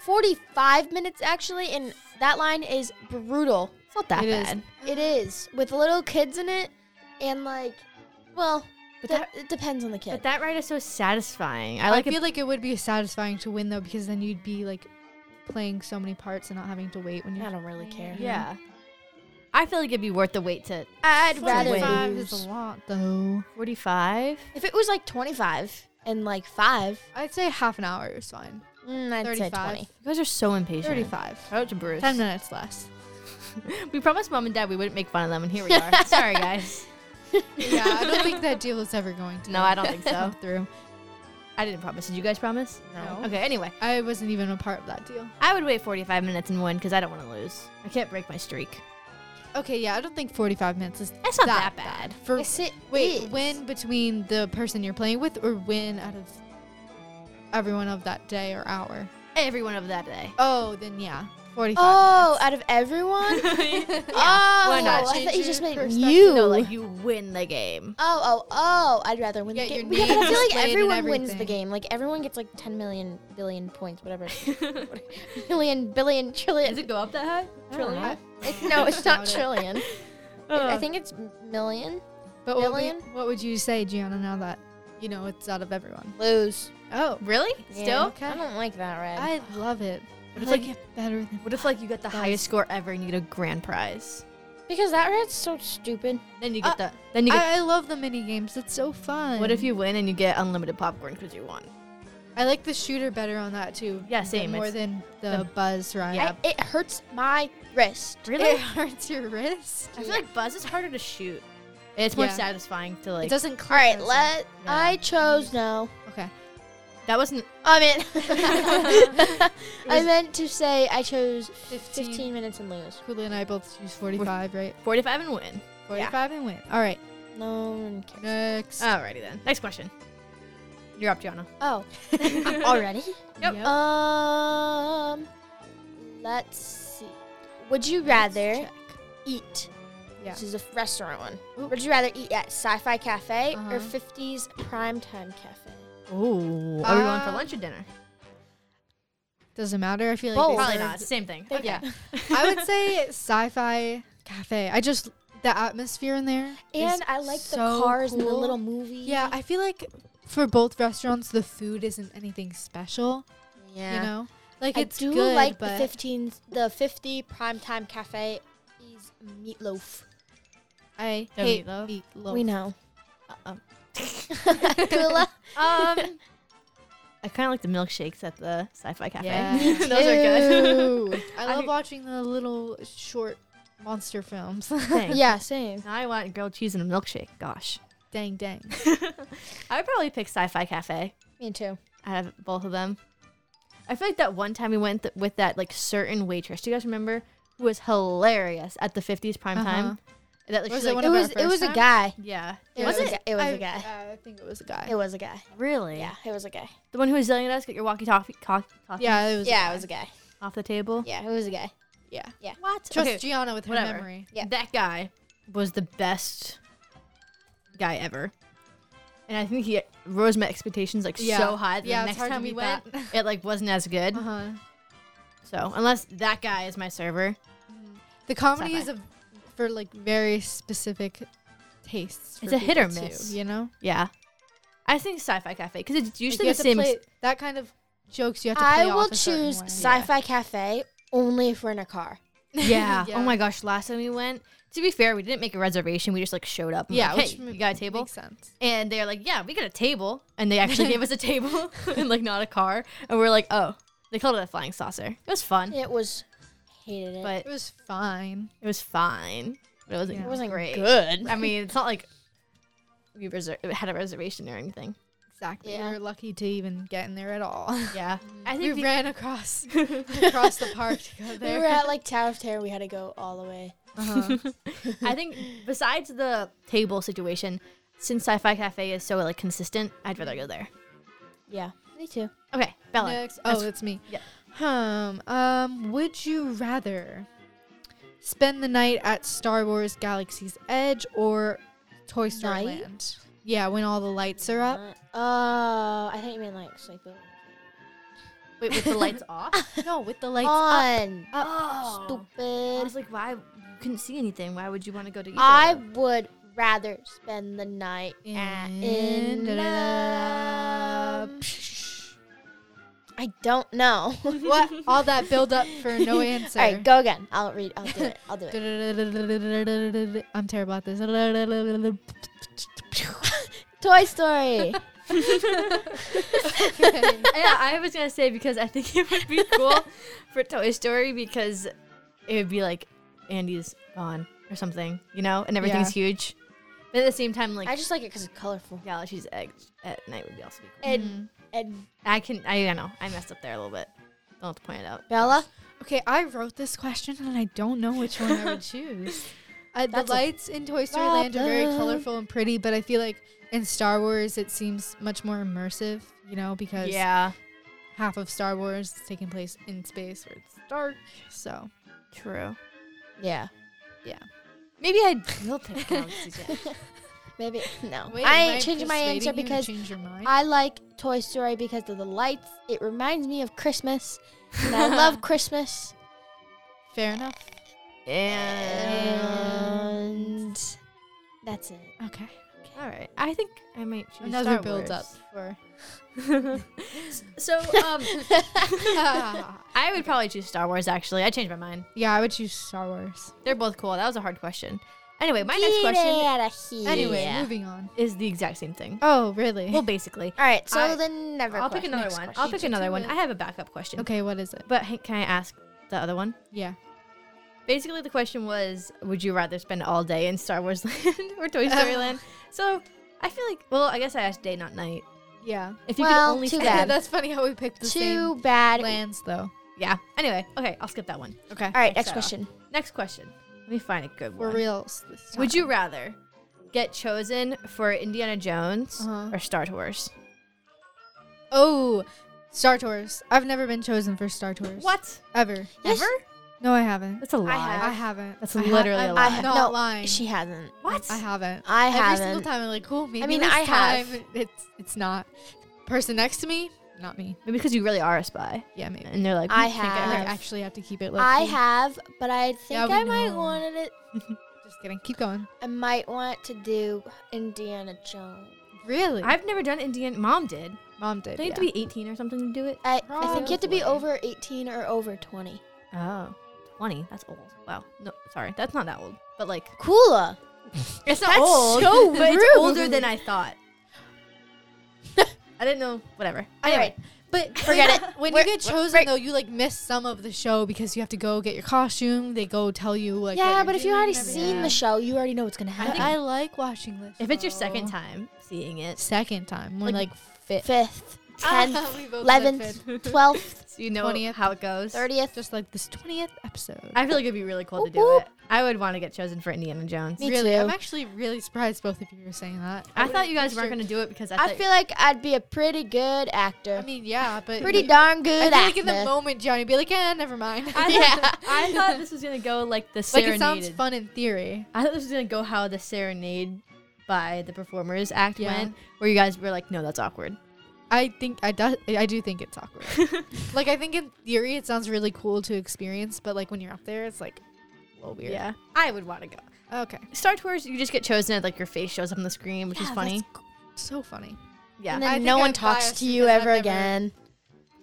[SPEAKER 1] 45 minutes, actually, and that line is brutal.
[SPEAKER 3] It's not that
[SPEAKER 2] It is.
[SPEAKER 3] bad.
[SPEAKER 1] It is, with little kids in it, and like, well,
[SPEAKER 3] But
[SPEAKER 1] de-
[SPEAKER 3] that-
[SPEAKER 1] it depends on the kid.
[SPEAKER 3] But that ride is so satisfying. I
[SPEAKER 2] I,
[SPEAKER 3] like it
[SPEAKER 2] feel like it would be satisfying to win though, because then you'd be like playing so many parts and not having to wait when you're.
[SPEAKER 1] I don't really care.
[SPEAKER 3] Yeah. I feel like it'd be worth the wait to
[SPEAKER 1] I'd rather
[SPEAKER 2] 45
[SPEAKER 1] lose.
[SPEAKER 2] is a lot though.
[SPEAKER 3] 45.
[SPEAKER 1] If it was like 25 and like 5,
[SPEAKER 2] I'd say half an hour is fine.
[SPEAKER 1] mm, I'd say
[SPEAKER 2] 35.
[SPEAKER 1] 20.
[SPEAKER 3] You guys are so impatient.
[SPEAKER 2] 35.
[SPEAKER 3] Shout out to Bruce.
[SPEAKER 2] 10 minutes less.
[SPEAKER 3] We promised mom and dad we wouldn't make fun of them, and here we are. Sorry, guys.
[SPEAKER 2] yeah, I don't think that deal is ever going to
[SPEAKER 3] No, I don't think so.
[SPEAKER 2] come through.
[SPEAKER 3] I didn't promise. Did you guys promise?
[SPEAKER 2] No.
[SPEAKER 3] Okay, anyway.
[SPEAKER 2] I wasn't even a part of that deal.
[SPEAKER 3] I would wait 45 minutes and win because I don't want to lose. I can't break my streak.
[SPEAKER 2] Okay, yeah, I don't think 45 minutes is
[SPEAKER 3] It's not
[SPEAKER 2] That
[SPEAKER 3] that, bad.
[SPEAKER 2] for
[SPEAKER 1] Yes, it
[SPEAKER 2] wait,
[SPEAKER 1] is.
[SPEAKER 2] win between the person you're playing with or win out of everyone of that day or hour.
[SPEAKER 3] Everyone of that day.
[SPEAKER 2] Oh, then yeah. 45.
[SPEAKER 1] Oh, out of everyone? oh,
[SPEAKER 3] why
[SPEAKER 1] I
[SPEAKER 3] not?
[SPEAKER 1] thought you
[SPEAKER 2] Change
[SPEAKER 1] just
[SPEAKER 2] your
[SPEAKER 1] meant
[SPEAKER 2] perspective.
[SPEAKER 1] you.
[SPEAKER 3] No, like you win the game.
[SPEAKER 1] oh, oh, oh! I'd rather win
[SPEAKER 2] Yeah,
[SPEAKER 1] the game.
[SPEAKER 2] your
[SPEAKER 1] Yeah, but I
[SPEAKER 2] name's
[SPEAKER 1] feel like
[SPEAKER 2] displayed and
[SPEAKER 1] everyone wins the
[SPEAKER 2] everything.
[SPEAKER 1] game. Like everyone gets like 10 million billion points, whatever. Million, billion, trillion.
[SPEAKER 3] Does it go up that high?
[SPEAKER 2] I don't know.
[SPEAKER 3] Trillion?
[SPEAKER 1] It's, no, it's not
[SPEAKER 2] Doubt it.
[SPEAKER 1] trillion.
[SPEAKER 2] Oh.
[SPEAKER 1] I think it's million.
[SPEAKER 2] But what, would-
[SPEAKER 1] Billion?
[SPEAKER 2] what would you say, Gianna, now that you know it's out of everyone?
[SPEAKER 1] Lose.
[SPEAKER 2] Oh,
[SPEAKER 3] Really?
[SPEAKER 1] Yeah.
[SPEAKER 3] Still?
[SPEAKER 1] I don't like that, Red.
[SPEAKER 2] I love it.
[SPEAKER 3] What if,
[SPEAKER 2] like
[SPEAKER 3] like-
[SPEAKER 2] it better than
[SPEAKER 3] What if like you got the
[SPEAKER 2] Guys.
[SPEAKER 3] highest score ever and you get a grand prize?
[SPEAKER 1] because that Red's so stupid.
[SPEAKER 3] Then you
[SPEAKER 2] Uh,
[SPEAKER 3] get the then you get.
[SPEAKER 2] I, I love the mini games. It's so fun.
[SPEAKER 3] what if you win and you get unlimited popcorn because you won?
[SPEAKER 2] I like the shooter better on that too.
[SPEAKER 3] Yeah,
[SPEAKER 2] than-
[SPEAKER 3] same,
[SPEAKER 2] More
[SPEAKER 3] it's-
[SPEAKER 2] than the,
[SPEAKER 3] the-
[SPEAKER 2] buzz ride.
[SPEAKER 1] I- it hurts my wrist.
[SPEAKER 2] It hurts your wrist.
[SPEAKER 3] I feel like Buzz is harder to shoot. It's more
[SPEAKER 2] Yeah.
[SPEAKER 3] satisfying to like.
[SPEAKER 2] it doesn't.
[SPEAKER 1] All right,
[SPEAKER 2] click as
[SPEAKER 1] let. I chose no.
[SPEAKER 2] much. Okay.
[SPEAKER 3] that wasn't.
[SPEAKER 1] I mean, I
[SPEAKER 3] was-
[SPEAKER 1] meant to say I chose
[SPEAKER 2] 15.
[SPEAKER 1] 15 minutes and lose.
[SPEAKER 2] Kula and I both choose 45, right?
[SPEAKER 3] 45 and win.
[SPEAKER 2] 45 and win. All right.
[SPEAKER 1] No one cares.
[SPEAKER 2] Next.
[SPEAKER 3] Alrighty then. Next question. You're up, Gianna.
[SPEAKER 1] Oh, already?
[SPEAKER 3] Yep.
[SPEAKER 2] Yep.
[SPEAKER 1] Um, let's see. Would you
[SPEAKER 2] Let's
[SPEAKER 1] rather
[SPEAKER 2] check.
[SPEAKER 1] eat?
[SPEAKER 2] Yeah.
[SPEAKER 1] This is a restaurant one.
[SPEAKER 2] Ooh.
[SPEAKER 1] Would you rather eat at Sci-Fi Cafe
[SPEAKER 2] Uh-huh.
[SPEAKER 1] or 50s Primetime Cafe?
[SPEAKER 3] Ooh. Are we going for
[SPEAKER 2] Um,
[SPEAKER 3] lunch or dinner?
[SPEAKER 2] Doesn't matter. I feel like.
[SPEAKER 1] Both.
[SPEAKER 2] they
[SPEAKER 3] Probably
[SPEAKER 2] serve-
[SPEAKER 3] not. Same thing.
[SPEAKER 1] They-
[SPEAKER 2] Yeah. I would say sci-fi cafe. I just the atmosphere in there. is
[SPEAKER 1] And I like
[SPEAKER 2] so
[SPEAKER 1] the cars and the
[SPEAKER 2] cool.
[SPEAKER 1] little movie.
[SPEAKER 2] Yeah, I feel like for both restaurants, the food isn't anything special.
[SPEAKER 1] yeah.
[SPEAKER 2] You know, like
[SPEAKER 1] I
[SPEAKER 2] it's
[SPEAKER 1] do
[SPEAKER 2] good,
[SPEAKER 1] like the
[SPEAKER 2] but
[SPEAKER 1] 15, the 50 Primetime Cafe is meatloaf.
[SPEAKER 2] I
[SPEAKER 3] No
[SPEAKER 2] hate
[SPEAKER 3] meatloaf.
[SPEAKER 2] meatloaf.
[SPEAKER 1] We know.
[SPEAKER 3] Uh-oh.
[SPEAKER 1] Kula?
[SPEAKER 3] Um. I kind of like the milkshakes at the Sci-Fi Cafe.
[SPEAKER 2] Yeah.
[SPEAKER 3] Those are good.
[SPEAKER 2] Ooh, I love watching the little short monster films.
[SPEAKER 3] Thanks.
[SPEAKER 1] Yeah, same.
[SPEAKER 3] Now I want grilled cheese and a milkshake. Gosh.
[SPEAKER 2] dang, dang.
[SPEAKER 3] I would probably pick Sci-Fi Cafe.
[SPEAKER 1] Me too.
[SPEAKER 3] I have both of them. I feel like that one time we went th- with that like certain waitress. Do you guys remember? Who was hilarious at the 50s prime
[SPEAKER 2] Uh-huh.
[SPEAKER 3] time. That like,
[SPEAKER 2] Was
[SPEAKER 3] she, like,
[SPEAKER 2] it one
[SPEAKER 1] It
[SPEAKER 2] of our
[SPEAKER 1] was it
[SPEAKER 2] first
[SPEAKER 1] was a
[SPEAKER 2] time?
[SPEAKER 1] guy.
[SPEAKER 3] yeah.
[SPEAKER 2] Yeah,
[SPEAKER 3] was
[SPEAKER 1] it was,
[SPEAKER 3] it?
[SPEAKER 1] A, it was
[SPEAKER 2] I-
[SPEAKER 1] a guy.
[SPEAKER 2] uh, I think it was a guy.
[SPEAKER 1] It was a guy.
[SPEAKER 3] Really?
[SPEAKER 1] Yeah, it was a guy.
[SPEAKER 3] The one who was yelling at us, get your walkie-talkie cock- talkie
[SPEAKER 2] yeah, it was.
[SPEAKER 1] Yeah, it was a guy.
[SPEAKER 3] off the table.
[SPEAKER 1] Yeah, it was a guy.
[SPEAKER 2] yeah.
[SPEAKER 3] What?
[SPEAKER 2] Trust
[SPEAKER 3] okay,
[SPEAKER 2] Gianna with her
[SPEAKER 3] whatever.
[SPEAKER 2] memory.
[SPEAKER 1] Yeah.
[SPEAKER 3] That guy was the best guy ever. And I think he rose my expectations like
[SPEAKER 2] Yeah.
[SPEAKER 3] so high that
[SPEAKER 2] Yeah,
[SPEAKER 3] the next
[SPEAKER 2] it's hard to
[SPEAKER 3] time we
[SPEAKER 2] beat
[SPEAKER 3] went, it like wasn't as good.
[SPEAKER 2] Uh huh.
[SPEAKER 3] So unless that guy is my server,
[SPEAKER 2] Mm-hmm. The comedy
[SPEAKER 3] Sci-fi.
[SPEAKER 2] is a, for like very specific tastes. for
[SPEAKER 3] It's a hit or
[SPEAKER 2] people, too,
[SPEAKER 3] miss.
[SPEAKER 2] you know.
[SPEAKER 3] yeah, I think Sci-Fi Cafe because it's
[SPEAKER 2] Like,
[SPEAKER 3] usually
[SPEAKER 2] you
[SPEAKER 3] the
[SPEAKER 2] have
[SPEAKER 3] same.
[SPEAKER 2] to
[SPEAKER 3] ex-
[SPEAKER 2] play- that kind of jokes you have to. Play
[SPEAKER 1] I
[SPEAKER 2] off
[SPEAKER 1] will
[SPEAKER 2] a certain
[SPEAKER 1] choose
[SPEAKER 2] way.
[SPEAKER 1] Sci-Fi Cafe only if we're in a car.
[SPEAKER 3] yeah. Oh my gosh. Last time we went, to be fair, we didn't make a reservation. We just like showed up. and
[SPEAKER 2] Yeah,
[SPEAKER 3] like,
[SPEAKER 2] which
[SPEAKER 3] hey,
[SPEAKER 2] m-
[SPEAKER 3] you got a table?
[SPEAKER 2] Makes sense.
[SPEAKER 3] And they're like, yeah, we got a table. And they actually gave us a table and like not a car. And we're like, oh, they called it a flying saucer. It was fun,
[SPEAKER 1] It was hated it.
[SPEAKER 3] but
[SPEAKER 2] It was fine.
[SPEAKER 3] it was fine. But it wasn't.
[SPEAKER 2] Yeah.
[SPEAKER 1] it wasn't
[SPEAKER 3] great.
[SPEAKER 1] good.
[SPEAKER 3] I mean, it's not like we reser- had a reservation or anything.
[SPEAKER 2] Exactly.
[SPEAKER 1] Yeah.
[SPEAKER 2] We were lucky to even get in there at all.
[SPEAKER 3] Yeah, I
[SPEAKER 2] we
[SPEAKER 3] think the-
[SPEAKER 2] ran across across the park to go
[SPEAKER 1] we
[SPEAKER 2] there.
[SPEAKER 1] were at like Tower of Terror. We had to go all the way.
[SPEAKER 2] uh-huh.
[SPEAKER 3] I think besides the table situation, since Sci-Fi Cafe is so like consistent, I'd rather go there.
[SPEAKER 1] Yeah, me too.
[SPEAKER 3] Okay, Bella.
[SPEAKER 2] Next.
[SPEAKER 3] That's-
[SPEAKER 2] Oh, it's me.
[SPEAKER 3] Yeah.
[SPEAKER 2] Um, um, would you rather spend the night at Star Wars Galaxy's Edge or Toy Story
[SPEAKER 1] Night?
[SPEAKER 2] Land? Yeah, when all the lights are up.
[SPEAKER 1] Uh, oh, I think you meant like sleeping.
[SPEAKER 3] Wait, with the lights off?
[SPEAKER 2] no, with the lights up.
[SPEAKER 1] On.
[SPEAKER 3] Oh. I
[SPEAKER 1] Stupid.
[SPEAKER 3] was like, why? You couldn't see anything. Why would you want to go to either?
[SPEAKER 1] I
[SPEAKER 3] of them?
[SPEAKER 1] would rather spend the night at in.
[SPEAKER 2] In- da-da-da-da.
[SPEAKER 1] um, I don't know.
[SPEAKER 2] what? All that build up for no answer.
[SPEAKER 1] All right, go again. I'll read. I'll do it. I'll do it.
[SPEAKER 2] I'm terrible at this.
[SPEAKER 1] Toy Story.
[SPEAKER 3] yeah, I was gonna say because I think it would be cool for Toy Story because it would be like Andy's gone or something, you know, and everything's huge. But at the same time, like
[SPEAKER 1] I just like it because it's colorful.
[SPEAKER 3] Galaxy's Edge at night would be also be cool.
[SPEAKER 1] And
[SPEAKER 2] Mm-hmm.
[SPEAKER 1] and
[SPEAKER 3] I can, I, I know, I messed up there a little bit. Don't have to point it out.
[SPEAKER 1] Bella.
[SPEAKER 2] Okay, I wrote this question and I don't know which one I would choose. Uh, the
[SPEAKER 1] That's a
[SPEAKER 2] lights in Toy Story Land are very
[SPEAKER 1] problem.
[SPEAKER 2] colorful and pretty, but I feel like in Star Wars it seems much more immersive, you know, because
[SPEAKER 3] Yeah,
[SPEAKER 2] half of Star Wars is taking place in space where it's dark. So
[SPEAKER 3] true.
[SPEAKER 1] Yeah.
[SPEAKER 3] Maybe I will pick Galaxy's Edge.
[SPEAKER 1] Maybe no. I
[SPEAKER 2] am
[SPEAKER 1] ain't changing my answer
[SPEAKER 2] persuading you to
[SPEAKER 1] because
[SPEAKER 2] change your mind.
[SPEAKER 1] I like Toy Story because of the lights. It reminds me of Christmas. And I love Christmas.
[SPEAKER 2] Fair enough.
[SPEAKER 1] And that's it.
[SPEAKER 2] Okay.
[SPEAKER 3] all right, I think I might choose
[SPEAKER 2] Another
[SPEAKER 3] Star
[SPEAKER 2] build up
[SPEAKER 3] Wars.
[SPEAKER 2] for
[SPEAKER 3] So um, I would probably choose Star Wars. Actually, I changed my mind.
[SPEAKER 2] Yeah, I would choose Star Wars.
[SPEAKER 3] They're both cool. That was a hard question. Anyway, my
[SPEAKER 1] Get
[SPEAKER 3] next question
[SPEAKER 1] out of here.
[SPEAKER 2] Anyway, moving on.
[SPEAKER 3] is the exact same thing.
[SPEAKER 2] Oh, really?
[SPEAKER 3] Well, basically,
[SPEAKER 1] All right, so
[SPEAKER 3] I-
[SPEAKER 1] then never.
[SPEAKER 3] I'll pick
[SPEAKER 1] question.
[SPEAKER 3] another
[SPEAKER 1] Next
[SPEAKER 3] one. I'll
[SPEAKER 1] question.
[SPEAKER 3] pick
[SPEAKER 2] Did you
[SPEAKER 3] another
[SPEAKER 2] do
[SPEAKER 3] one.
[SPEAKER 2] it?
[SPEAKER 3] I have a backup question.
[SPEAKER 2] okay, what is it?
[SPEAKER 3] But hey, can I ask the other one?
[SPEAKER 2] Yeah.
[SPEAKER 3] Basically, the question was, would you rather spend all day in Star Wars Land or Toy Story Land? So I feel like, well, I guess I asked day, not night.
[SPEAKER 2] Yeah.
[SPEAKER 3] If you
[SPEAKER 1] Well,
[SPEAKER 3] could only
[SPEAKER 1] too
[SPEAKER 3] spend-
[SPEAKER 1] bad.
[SPEAKER 2] That's funny how we picked the
[SPEAKER 1] Too
[SPEAKER 2] same
[SPEAKER 1] bad.
[SPEAKER 2] lands, though.
[SPEAKER 3] yeah. Anyway, okay, I'll skip that one.
[SPEAKER 2] Okay.
[SPEAKER 1] All right,
[SPEAKER 3] Check
[SPEAKER 1] next
[SPEAKER 3] that
[SPEAKER 1] question.
[SPEAKER 3] Next question. Let me find a good
[SPEAKER 2] We're
[SPEAKER 3] one.
[SPEAKER 2] real. This time.
[SPEAKER 3] Would you rather get chosen for Indiana Jones
[SPEAKER 2] Uh-huh.
[SPEAKER 3] or Star Wars?
[SPEAKER 2] Oh, Star Tours. I've never been chosen for Star Tours.
[SPEAKER 3] What?
[SPEAKER 2] Ever?
[SPEAKER 1] Yes.
[SPEAKER 3] Ever?
[SPEAKER 2] No, I haven't.
[SPEAKER 3] That's a lie.
[SPEAKER 1] have.
[SPEAKER 2] I haven't.
[SPEAKER 3] That's
[SPEAKER 2] I ha-
[SPEAKER 3] literally a
[SPEAKER 2] I'm
[SPEAKER 3] lie.
[SPEAKER 1] ha-
[SPEAKER 2] Not
[SPEAKER 1] no,
[SPEAKER 2] lying.
[SPEAKER 1] She hasn't.
[SPEAKER 3] What?
[SPEAKER 2] I haven't.
[SPEAKER 1] I
[SPEAKER 2] Every
[SPEAKER 1] haven't.
[SPEAKER 2] single time I'm like, cool. Maybe
[SPEAKER 1] mean,
[SPEAKER 2] this
[SPEAKER 1] I have.
[SPEAKER 2] time It's it's not. Person next to me, not me.
[SPEAKER 3] Maybe because you really are a spy.
[SPEAKER 2] Yeah, maybe.
[SPEAKER 3] And they're like,
[SPEAKER 1] I
[SPEAKER 3] "We can't get
[SPEAKER 2] I
[SPEAKER 1] have.
[SPEAKER 3] her."
[SPEAKER 2] like, actually have to keep it. low
[SPEAKER 1] I
[SPEAKER 2] key.
[SPEAKER 1] have, but I think
[SPEAKER 2] we
[SPEAKER 1] I might
[SPEAKER 2] know.
[SPEAKER 1] wanted it.
[SPEAKER 2] Just kidding. Keep going.
[SPEAKER 1] I might want to do Indiana Jones.
[SPEAKER 2] Really?
[SPEAKER 3] I've never done Indiana. Mom did.
[SPEAKER 2] Mom did.
[SPEAKER 3] Do I need to
[SPEAKER 2] yeah.
[SPEAKER 3] be 18 or something to do it?
[SPEAKER 1] I, I think you have to be
[SPEAKER 3] Probably.
[SPEAKER 1] over 18 or over 20.
[SPEAKER 3] Oh, 20. That's old. Wow. No, sorry. That's not that old. But like,
[SPEAKER 1] Cooler.
[SPEAKER 3] it's
[SPEAKER 1] That's so rude.
[SPEAKER 3] but it's older than I thought. I didn't know. Whatever.
[SPEAKER 1] All right.
[SPEAKER 2] But
[SPEAKER 1] Forget it.
[SPEAKER 2] When
[SPEAKER 1] We're-
[SPEAKER 2] you get
[SPEAKER 1] we're-
[SPEAKER 2] chosen,
[SPEAKER 1] right.
[SPEAKER 2] though, you like miss some of the show because you have to go get your costume. They go tell you like. what
[SPEAKER 1] yeah,
[SPEAKER 2] you're
[SPEAKER 1] but if you
[SPEAKER 2] doing
[SPEAKER 1] already
[SPEAKER 2] and everything.
[SPEAKER 1] seen the show, you already know what's gonna
[SPEAKER 2] But
[SPEAKER 1] happen.
[SPEAKER 2] I like watching this.
[SPEAKER 3] If it's your second time seeing it,
[SPEAKER 2] second time, we're
[SPEAKER 3] Like,
[SPEAKER 2] like, fifth,
[SPEAKER 1] Fifth, tenth,
[SPEAKER 2] We both said
[SPEAKER 1] eleventh,
[SPEAKER 2] fifth.
[SPEAKER 1] twelfth,
[SPEAKER 3] so you know
[SPEAKER 2] 20th.
[SPEAKER 3] how it goes.
[SPEAKER 1] thirtieth.
[SPEAKER 2] just like this twentieth episode.
[SPEAKER 3] I feel like it'd be really cool to
[SPEAKER 1] Whoop,
[SPEAKER 3] do
[SPEAKER 1] whoop.
[SPEAKER 3] it. I would want to get chosen for Indiana Jones.
[SPEAKER 1] Me
[SPEAKER 2] really, I'm
[SPEAKER 1] too.
[SPEAKER 2] actually really surprised both of you were saying that.
[SPEAKER 3] I
[SPEAKER 2] would've
[SPEAKER 3] thought you guys
[SPEAKER 2] wished
[SPEAKER 3] weren't
[SPEAKER 2] your-
[SPEAKER 3] going to do it because I,
[SPEAKER 1] I
[SPEAKER 3] thought-
[SPEAKER 1] feel like I'd be a pretty good actor.
[SPEAKER 2] I mean, yeah, but
[SPEAKER 1] pretty darn
[SPEAKER 2] I
[SPEAKER 1] good
[SPEAKER 2] feel like
[SPEAKER 1] actor.
[SPEAKER 2] in the moment, Johnny would be like, "Yeah, never mind."
[SPEAKER 3] I
[SPEAKER 1] Yeah.
[SPEAKER 3] thought, I thought this was gonna go like the
[SPEAKER 2] like
[SPEAKER 3] serenade.
[SPEAKER 2] it sounds fun in theory.
[SPEAKER 3] I thought this was gonna go how the serenade by the performers act
[SPEAKER 2] Yeah.
[SPEAKER 3] went, where you guys were like, "No, that's awkward."
[SPEAKER 2] I think I do, I do think it's awkward. like I think in theory it sounds really cool to experience, but like when you're up there, it's like a little weird.
[SPEAKER 3] Yeah, I would want to go.
[SPEAKER 2] Okay.
[SPEAKER 3] Star Tours, you just get chosen, and like your face shows up on the screen, which is
[SPEAKER 2] Yeah,
[SPEAKER 3] funny.
[SPEAKER 2] that's c- So funny.
[SPEAKER 3] Yeah,
[SPEAKER 1] and
[SPEAKER 2] I
[SPEAKER 1] then
[SPEAKER 2] think
[SPEAKER 1] no one
[SPEAKER 2] I'm
[SPEAKER 1] talks
[SPEAKER 2] biased
[SPEAKER 1] to you
[SPEAKER 2] because I've
[SPEAKER 1] ever
[SPEAKER 2] never-
[SPEAKER 1] again.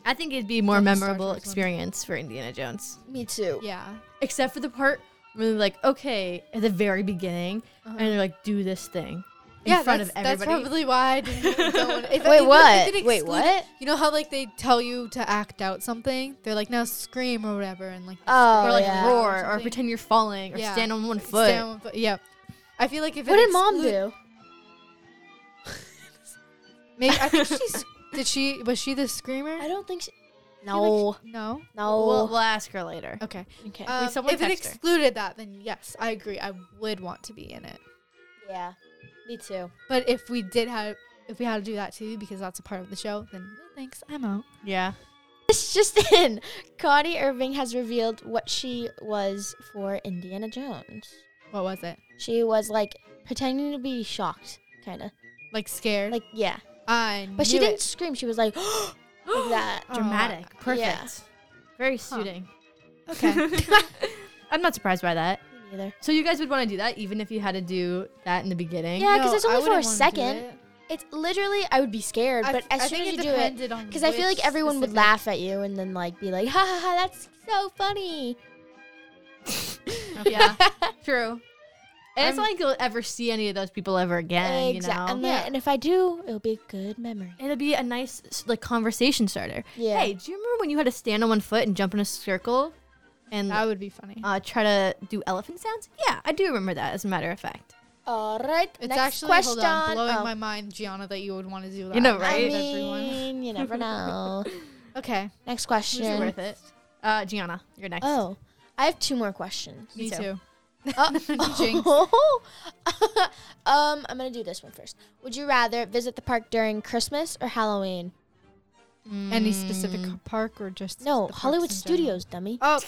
[SPEAKER 3] I think it'd be a more
[SPEAKER 2] Done the Star
[SPEAKER 3] memorable
[SPEAKER 2] Tours one.
[SPEAKER 3] experience for Indiana Jones,
[SPEAKER 1] Me too.
[SPEAKER 2] Yeah.
[SPEAKER 3] except for the part where they're like, "Okay," at the very beginning,
[SPEAKER 2] Uh-huh.
[SPEAKER 3] and they're like, "Do this thing." In
[SPEAKER 2] yeah,
[SPEAKER 3] front of
[SPEAKER 2] that's,
[SPEAKER 3] everybody.
[SPEAKER 2] that's probably why I didn't really go in. If-
[SPEAKER 1] Wait,
[SPEAKER 2] if- if
[SPEAKER 1] what?
[SPEAKER 2] they'd
[SPEAKER 1] Wait,
[SPEAKER 2] exclude
[SPEAKER 1] what?
[SPEAKER 2] it- you know how like they tell you to act out something? They're like, now scream or whatever, and like
[SPEAKER 1] Oh,
[SPEAKER 3] or like
[SPEAKER 1] yeah.
[SPEAKER 3] roar, or,
[SPEAKER 2] something.
[SPEAKER 3] pretend you're falling, or
[SPEAKER 2] Yeah.
[SPEAKER 3] stand on one foot.
[SPEAKER 2] stand on one foot. Yeah. I feel like if
[SPEAKER 1] What
[SPEAKER 2] it
[SPEAKER 1] did mom
[SPEAKER 2] exclude-
[SPEAKER 1] do?
[SPEAKER 2] Maybe I think she's did she was she the screamer?
[SPEAKER 1] I don't think. She,
[SPEAKER 2] I feel
[SPEAKER 1] no,
[SPEAKER 2] like she- no.
[SPEAKER 1] no. Uh,
[SPEAKER 3] We'll, we'll ask her later.
[SPEAKER 2] Okay.
[SPEAKER 1] okay.
[SPEAKER 2] Um,
[SPEAKER 3] someone
[SPEAKER 2] if it
[SPEAKER 3] text her.
[SPEAKER 2] excluded that, then yes, I agree. I would want to be in it.
[SPEAKER 1] yeah, me too.
[SPEAKER 2] But if we did have, if we had to do that too, because that's a part of the show, then no thanks, I'm out.
[SPEAKER 3] Yeah.
[SPEAKER 1] This just in. Connie Irving has revealed what she was for Indiana Jones.
[SPEAKER 2] What was it?
[SPEAKER 1] She was like pretending to be shocked, kind of.
[SPEAKER 2] Like scared?
[SPEAKER 1] Like, yeah.
[SPEAKER 2] I
[SPEAKER 1] But she
[SPEAKER 2] knew
[SPEAKER 1] didn't
[SPEAKER 2] it.
[SPEAKER 1] scream. She was like, like that.
[SPEAKER 2] Oh,
[SPEAKER 3] Dramatic. Perfect.
[SPEAKER 1] yeah.
[SPEAKER 3] Very
[SPEAKER 2] Huh.
[SPEAKER 3] suiting.
[SPEAKER 2] Okay.
[SPEAKER 3] I'm not surprised by that.
[SPEAKER 1] Me neither.
[SPEAKER 3] So you guys would want to do that even if you had to do that in the beginning?
[SPEAKER 1] Yeah, 'cause
[SPEAKER 2] No,
[SPEAKER 1] it's
[SPEAKER 2] I
[SPEAKER 1] only for a
[SPEAKER 2] wouldn't wanna do
[SPEAKER 1] second,
[SPEAKER 2] it.
[SPEAKER 1] It's literally, I would be scared,
[SPEAKER 2] I
[SPEAKER 1] but
[SPEAKER 2] th-
[SPEAKER 1] as
[SPEAKER 2] I
[SPEAKER 1] soon
[SPEAKER 2] think
[SPEAKER 1] as
[SPEAKER 2] it
[SPEAKER 1] you do it,
[SPEAKER 2] depended on
[SPEAKER 1] because I feel
[SPEAKER 2] which
[SPEAKER 1] like everyone would
[SPEAKER 2] specific-
[SPEAKER 1] laugh at you and then like be like, ha ha ha, that's so funny.
[SPEAKER 2] Yeah, true.
[SPEAKER 3] And it's
[SPEAKER 2] I'm-
[SPEAKER 3] not like you'll ever see any of those people ever again,
[SPEAKER 1] Exact-
[SPEAKER 3] you know?
[SPEAKER 1] And, then-
[SPEAKER 2] Yeah.
[SPEAKER 1] and if I do, it'll be a good memory.
[SPEAKER 3] It'll be a nice s- like conversation starter.
[SPEAKER 1] Yeah.
[SPEAKER 3] Hey, do you remember when you had to stand on one foot and jump in a circle and
[SPEAKER 2] That would be funny.
[SPEAKER 3] uh, try to do elephant sounds? Yeah, I do remember that as a matter of fact.
[SPEAKER 1] All right.
[SPEAKER 2] it's
[SPEAKER 1] next
[SPEAKER 2] actually
[SPEAKER 1] question.
[SPEAKER 2] hold on, blowing
[SPEAKER 1] Oh.
[SPEAKER 2] my mind, Gianna, that you would want to do that.
[SPEAKER 3] know,
[SPEAKER 2] with
[SPEAKER 1] I
[SPEAKER 3] right?
[SPEAKER 2] everyone.
[SPEAKER 1] mean, you never know.
[SPEAKER 2] Okay,
[SPEAKER 1] Next
[SPEAKER 3] It
[SPEAKER 1] question.
[SPEAKER 3] was worth it. Uh, Gianna, you're next.
[SPEAKER 1] Oh, I have two more questions.
[SPEAKER 3] Me
[SPEAKER 2] me
[SPEAKER 3] too.
[SPEAKER 2] too.
[SPEAKER 1] Uh,
[SPEAKER 2] Jinx.
[SPEAKER 1] Oh. um, I'm gonna do this one first. Would you rather visit the park during Christmas or Halloween?
[SPEAKER 2] Any
[SPEAKER 1] Hmm.
[SPEAKER 2] specific
[SPEAKER 3] Mm.
[SPEAKER 2] park or just
[SPEAKER 1] No,
[SPEAKER 2] the parks
[SPEAKER 1] Hollywood
[SPEAKER 2] in general?
[SPEAKER 1] Studios, dummy.
[SPEAKER 2] Oh,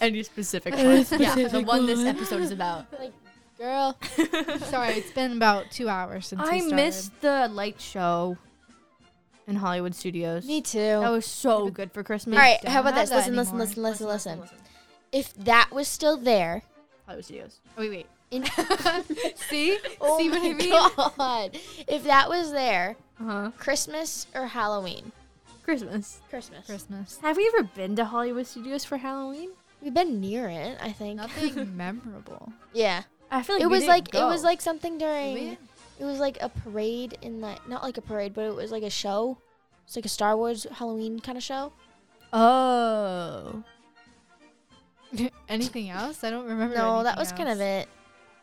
[SPEAKER 3] Any specific
[SPEAKER 2] Any
[SPEAKER 3] one? yeah, the
[SPEAKER 2] specific
[SPEAKER 3] one this
[SPEAKER 2] one?
[SPEAKER 3] episode is about.
[SPEAKER 1] Girl,
[SPEAKER 2] sorry, it's been about two hours since we
[SPEAKER 3] I
[SPEAKER 2] started.
[SPEAKER 3] missed the light show in Hollywood Studios.
[SPEAKER 1] me too.
[SPEAKER 3] That
[SPEAKER 1] All
[SPEAKER 3] was so good for Christmas.
[SPEAKER 1] right,
[SPEAKER 2] don't
[SPEAKER 1] how about
[SPEAKER 2] have
[SPEAKER 1] this?
[SPEAKER 2] that
[SPEAKER 1] Listen, listen,
[SPEAKER 2] anymore.
[SPEAKER 1] listen, listen, listen. If that was still there,
[SPEAKER 3] Hollywood Studios. Oh, wait, wait.
[SPEAKER 1] in-
[SPEAKER 2] See,
[SPEAKER 1] oh
[SPEAKER 2] see
[SPEAKER 1] my
[SPEAKER 2] what I mean?
[SPEAKER 1] god, if that was there,
[SPEAKER 3] Uh huh.
[SPEAKER 1] Christmas or Halloween?
[SPEAKER 3] Christmas.
[SPEAKER 1] Christmas.
[SPEAKER 2] Christmas.
[SPEAKER 3] Have we ever been to Hollywood Studios for Halloween?
[SPEAKER 1] We've been near it, I think.
[SPEAKER 2] Nothing memorable.
[SPEAKER 1] Yeah,
[SPEAKER 3] I feel like
[SPEAKER 1] it
[SPEAKER 3] we
[SPEAKER 1] was
[SPEAKER 3] didn't
[SPEAKER 1] like it
[SPEAKER 3] go.
[SPEAKER 1] was like something during.
[SPEAKER 2] Did
[SPEAKER 1] It was like a parade in that, not like a parade, but it was like a show. It's like a Star Wars Halloween kind of show.
[SPEAKER 3] oh.
[SPEAKER 2] we? Anything else? I don't remember.
[SPEAKER 1] No, that
[SPEAKER 2] anything
[SPEAKER 1] was kind of
[SPEAKER 2] else.
[SPEAKER 1] it.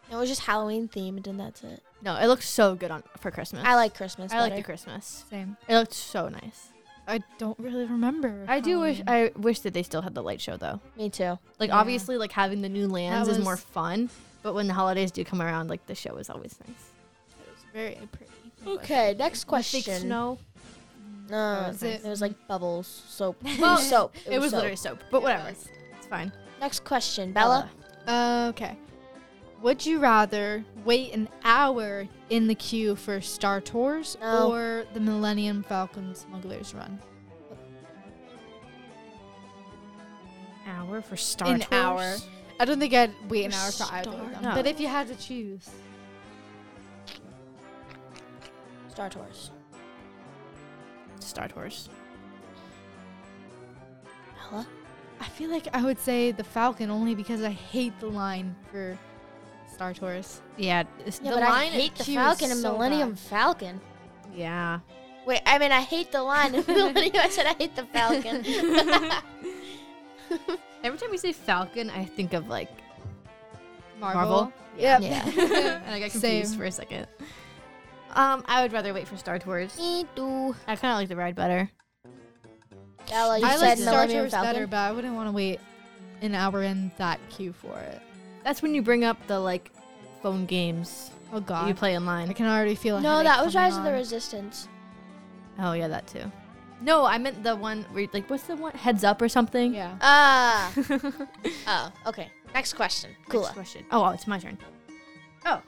[SPEAKER 1] It was just Halloween themed, and that's it.
[SPEAKER 3] No, it looked so good on for Christmas.
[SPEAKER 1] I like Christmas.
[SPEAKER 3] I like the
[SPEAKER 1] better.
[SPEAKER 3] Christmas.
[SPEAKER 2] Same.
[SPEAKER 3] It looked so nice.
[SPEAKER 2] I don't really remember.
[SPEAKER 3] I do wish
[SPEAKER 2] Halloween.
[SPEAKER 3] I wish that they still had the light show though.
[SPEAKER 1] Me too.
[SPEAKER 3] Like
[SPEAKER 2] Yeah.
[SPEAKER 3] obviously like having the new lands is
[SPEAKER 2] was-
[SPEAKER 3] more fun, but when the holidays do come around, like the show is always nice.
[SPEAKER 2] It was very pretty.
[SPEAKER 1] Okay, next
[SPEAKER 3] The fake
[SPEAKER 1] question.
[SPEAKER 3] snow.
[SPEAKER 1] No,
[SPEAKER 2] That
[SPEAKER 1] it
[SPEAKER 2] was
[SPEAKER 1] was,
[SPEAKER 2] it.
[SPEAKER 1] like bubbles, soap. It
[SPEAKER 3] Well,
[SPEAKER 1] was soap.
[SPEAKER 3] It, was
[SPEAKER 1] soap.
[SPEAKER 3] literally soap, but
[SPEAKER 2] It
[SPEAKER 3] whatever.
[SPEAKER 2] was.
[SPEAKER 3] It's fine.
[SPEAKER 1] Next question, Bella.
[SPEAKER 2] Okay. Would you rather wait an hour in the queue for Star Tours
[SPEAKER 1] No.
[SPEAKER 2] or the Millennium Falcon Smuggler's Run?
[SPEAKER 3] Hour for Star
[SPEAKER 2] an
[SPEAKER 3] Tours.
[SPEAKER 2] hour. I don't think I'd wait an
[SPEAKER 1] For
[SPEAKER 2] hour for either
[SPEAKER 1] Star-
[SPEAKER 2] of them.
[SPEAKER 3] No.
[SPEAKER 2] But if you had to choose,
[SPEAKER 1] Star Tours.
[SPEAKER 3] Star Tours.
[SPEAKER 1] Bella.
[SPEAKER 2] I feel like I would say the Falcon only because I hate the line for Star Tours.
[SPEAKER 3] Yeah, it's
[SPEAKER 1] Yeah,
[SPEAKER 3] the
[SPEAKER 1] but I
[SPEAKER 3] line.
[SPEAKER 1] hate the
[SPEAKER 2] queue
[SPEAKER 1] Falcon
[SPEAKER 2] is
[SPEAKER 1] and
[SPEAKER 2] so
[SPEAKER 1] Millennium
[SPEAKER 2] bad.
[SPEAKER 1] Falcon.
[SPEAKER 3] yeah.
[SPEAKER 1] Wait, I mean I hate the line. and Millennium. I said I hate the Falcon.
[SPEAKER 3] Every time we say Falcon, I think of like
[SPEAKER 2] Marvel.
[SPEAKER 3] Marvel?
[SPEAKER 2] Yep.
[SPEAKER 1] yeah.
[SPEAKER 3] and I got confused
[SPEAKER 2] Same.
[SPEAKER 3] for a second. Um, I would rather wait for Star Tours.
[SPEAKER 1] Me too.
[SPEAKER 3] I kind of like the ride better.
[SPEAKER 1] Bella, you
[SPEAKER 2] I like
[SPEAKER 1] said
[SPEAKER 2] Star
[SPEAKER 1] Millennium
[SPEAKER 2] Tours
[SPEAKER 1] Falcon.
[SPEAKER 2] better, but I wouldn't want to wait an hour in that queue for it.
[SPEAKER 3] That's when you bring up the like phone games
[SPEAKER 2] Oh
[SPEAKER 3] that you
[SPEAKER 2] God,
[SPEAKER 3] play
[SPEAKER 2] I
[SPEAKER 3] online.
[SPEAKER 2] can already feel. a
[SPEAKER 1] No,
[SPEAKER 2] headache
[SPEAKER 1] that was
[SPEAKER 2] coming
[SPEAKER 1] Rise of the
[SPEAKER 2] on.
[SPEAKER 1] Resistance.
[SPEAKER 3] Oh yeah, that too. No, I meant the one where you- like what's the one Heads Up or something.
[SPEAKER 2] Yeah.
[SPEAKER 1] Ah. oh, okay. Next question.
[SPEAKER 3] Next
[SPEAKER 1] Kula.
[SPEAKER 3] question. Oh, wow, it's my turn. Oh.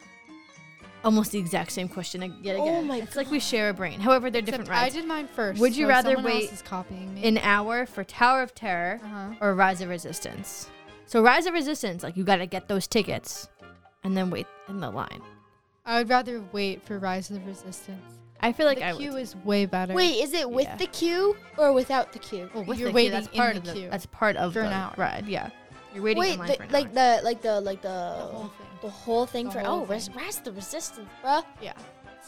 [SPEAKER 3] Almost the exact same question ag- yet
[SPEAKER 1] Oh
[SPEAKER 3] again.
[SPEAKER 1] my
[SPEAKER 3] it's like we share a brain. However, they're different
[SPEAKER 2] Except I
[SPEAKER 3] rides.
[SPEAKER 2] did mine first.
[SPEAKER 3] Would you
[SPEAKER 2] so
[SPEAKER 3] rather
[SPEAKER 2] someone else
[SPEAKER 3] wait
[SPEAKER 2] is copying me?
[SPEAKER 3] An hour for Tower of Terror
[SPEAKER 2] uh-huh.
[SPEAKER 3] or Rise of Resistance. So Rise of Resistance, like you gotta get those tickets, and then wait in the line.
[SPEAKER 2] I would rather wait for Rise of the Resistance.
[SPEAKER 3] I feel like
[SPEAKER 2] the
[SPEAKER 3] I
[SPEAKER 2] queue
[SPEAKER 3] would.
[SPEAKER 2] is way better.
[SPEAKER 1] Wait, is it with
[SPEAKER 3] Yeah.
[SPEAKER 1] the queue or without the queue?
[SPEAKER 3] Well, Oh, with
[SPEAKER 2] You're
[SPEAKER 3] the queue, that's
[SPEAKER 2] waiting in
[SPEAKER 3] part
[SPEAKER 2] the
[SPEAKER 3] of the
[SPEAKER 2] queue
[SPEAKER 3] that's part of
[SPEAKER 2] for
[SPEAKER 3] the
[SPEAKER 2] an hour.
[SPEAKER 3] ride. Yeah, you're waiting
[SPEAKER 1] Wait,
[SPEAKER 3] in line
[SPEAKER 1] the,
[SPEAKER 3] for an
[SPEAKER 1] like
[SPEAKER 3] hour.
[SPEAKER 1] the like the like the the
[SPEAKER 2] the whole thing.
[SPEAKER 1] whole thing
[SPEAKER 2] The
[SPEAKER 1] for
[SPEAKER 2] whole
[SPEAKER 1] oh res-
[SPEAKER 2] thing.
[SPEAKER 1] Rise of the Resistance, bruh.
[SPEAKER 2] Yeah,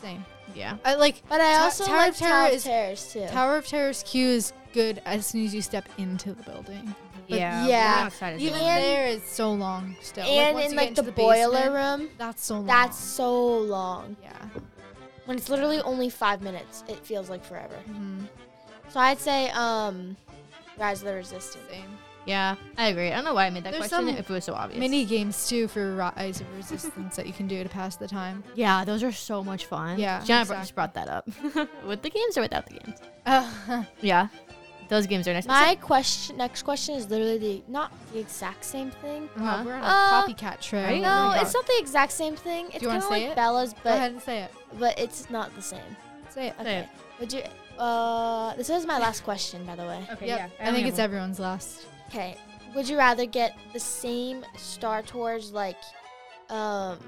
[SPEAKER 2] same.
[SPEAKER 3] yeah,
[SPEAKER 2] I like
[SPEAKER 1] But I
[SPEAKER 2] Ta-
[SPEAKER 1] also
[SPEAKER 2] Tower of
[SPEAKER 1] like
[SPEAKER 2] Terror
[SPEAKER 1] Tower of
[SPEAKER 2] is-
[SPEAKER 1] Terrors too.
[SPEAKER 2] Tower of Terror's queue is good as soon as you step into the building. But
[SPEAKER 3] yeah,
[SPEAKER 1] yeah,
[SPEAKER 3] we're outside of the
[SPEAKER 2] Even
[SPEAKER 3] line.
[SPEAKER 1] And-
[SPEAKER 2] there is so long still.
[SPEAKER 1] and
[SPEAKER 2] once
[SPEAKER 1] in
[SPEAKER 2] you
[SPEAKER 1] like
[SPEAKER 2] get
[SPEAKER 1] the,
[SPEAKER 2] into
[SPEAKER 1] boiler
[SPEAKER 2] basement,
[SPEAKER 1] room,
[SPEAKER 2] That's so long.
[SPEAKER 1] that's so long.
[SPEAKER 2] yeah.
[SPEAKER 1] When it's literally only five minutes, it feels like forever.
[SPEAKER 2] Mm-hmm.
[SPEAKER 1] So I'd say um, Rise of the Resistance.
[SPEAKER 2] Same.
[SPEAKER 3] Yeah, I agree. I don't know why I made that
[SPEAKER 2] There's
[SPEAKER 3] question
[SPEAKER 2] some
[SPEAKER 3] if it was so obvious.
[SPEAKER 2] Mini games too for Rise of Resistance that you can do to pass the time.
[SPEAKER 3] Yeah, those are so much fun.
[SPEAKER 2] Yeah,
[SPEAKER 3] Gianna brought- just brought that up. With the games or without the games?
[SPEAKER 2] Uh,
[SPEAKER 3] Yeah. Those games are nice.
[SPEAKER 1] My question, next question is literally the, not the exact same thing.
[SPEAKER 2] wow, we're on a
[SPEAKER 1] Uh,
[SPEAKER 2] copycat trail.
[SPEAKER 3] Right?
[SPEAKER 2] Oh
[SPEAKER 1] No,
[SPEAKER 2] my
[SPEAKER 1] it's
[SPEAKER 2] God.
[SPEAKER 1] not the exact same thing. It's
[SPEAKER 2] you wanna
[SPEAKER 1] kind of
[SPEAKER 2] say
[SPEAKER 1] like
[SPEAKER 2] it?
[SPEAKER 1] Bella's,
[SPEAKER 2] Go ahead
[SPEAKER 1] but
[SPEAKER 2] and say it.
[SPEAKER 1] but it's not the same.
[SPEAKER 2] Say it.
[SPEAKER 1] Okay. Would you? Uh, this is my last question, by the way.
[SPEAKER 3] Okay,
[SPEAKER 2] Yep. I think it's everyone's last.
[SPEAKER 1] Okay. Would you rather get the same Star Tours like um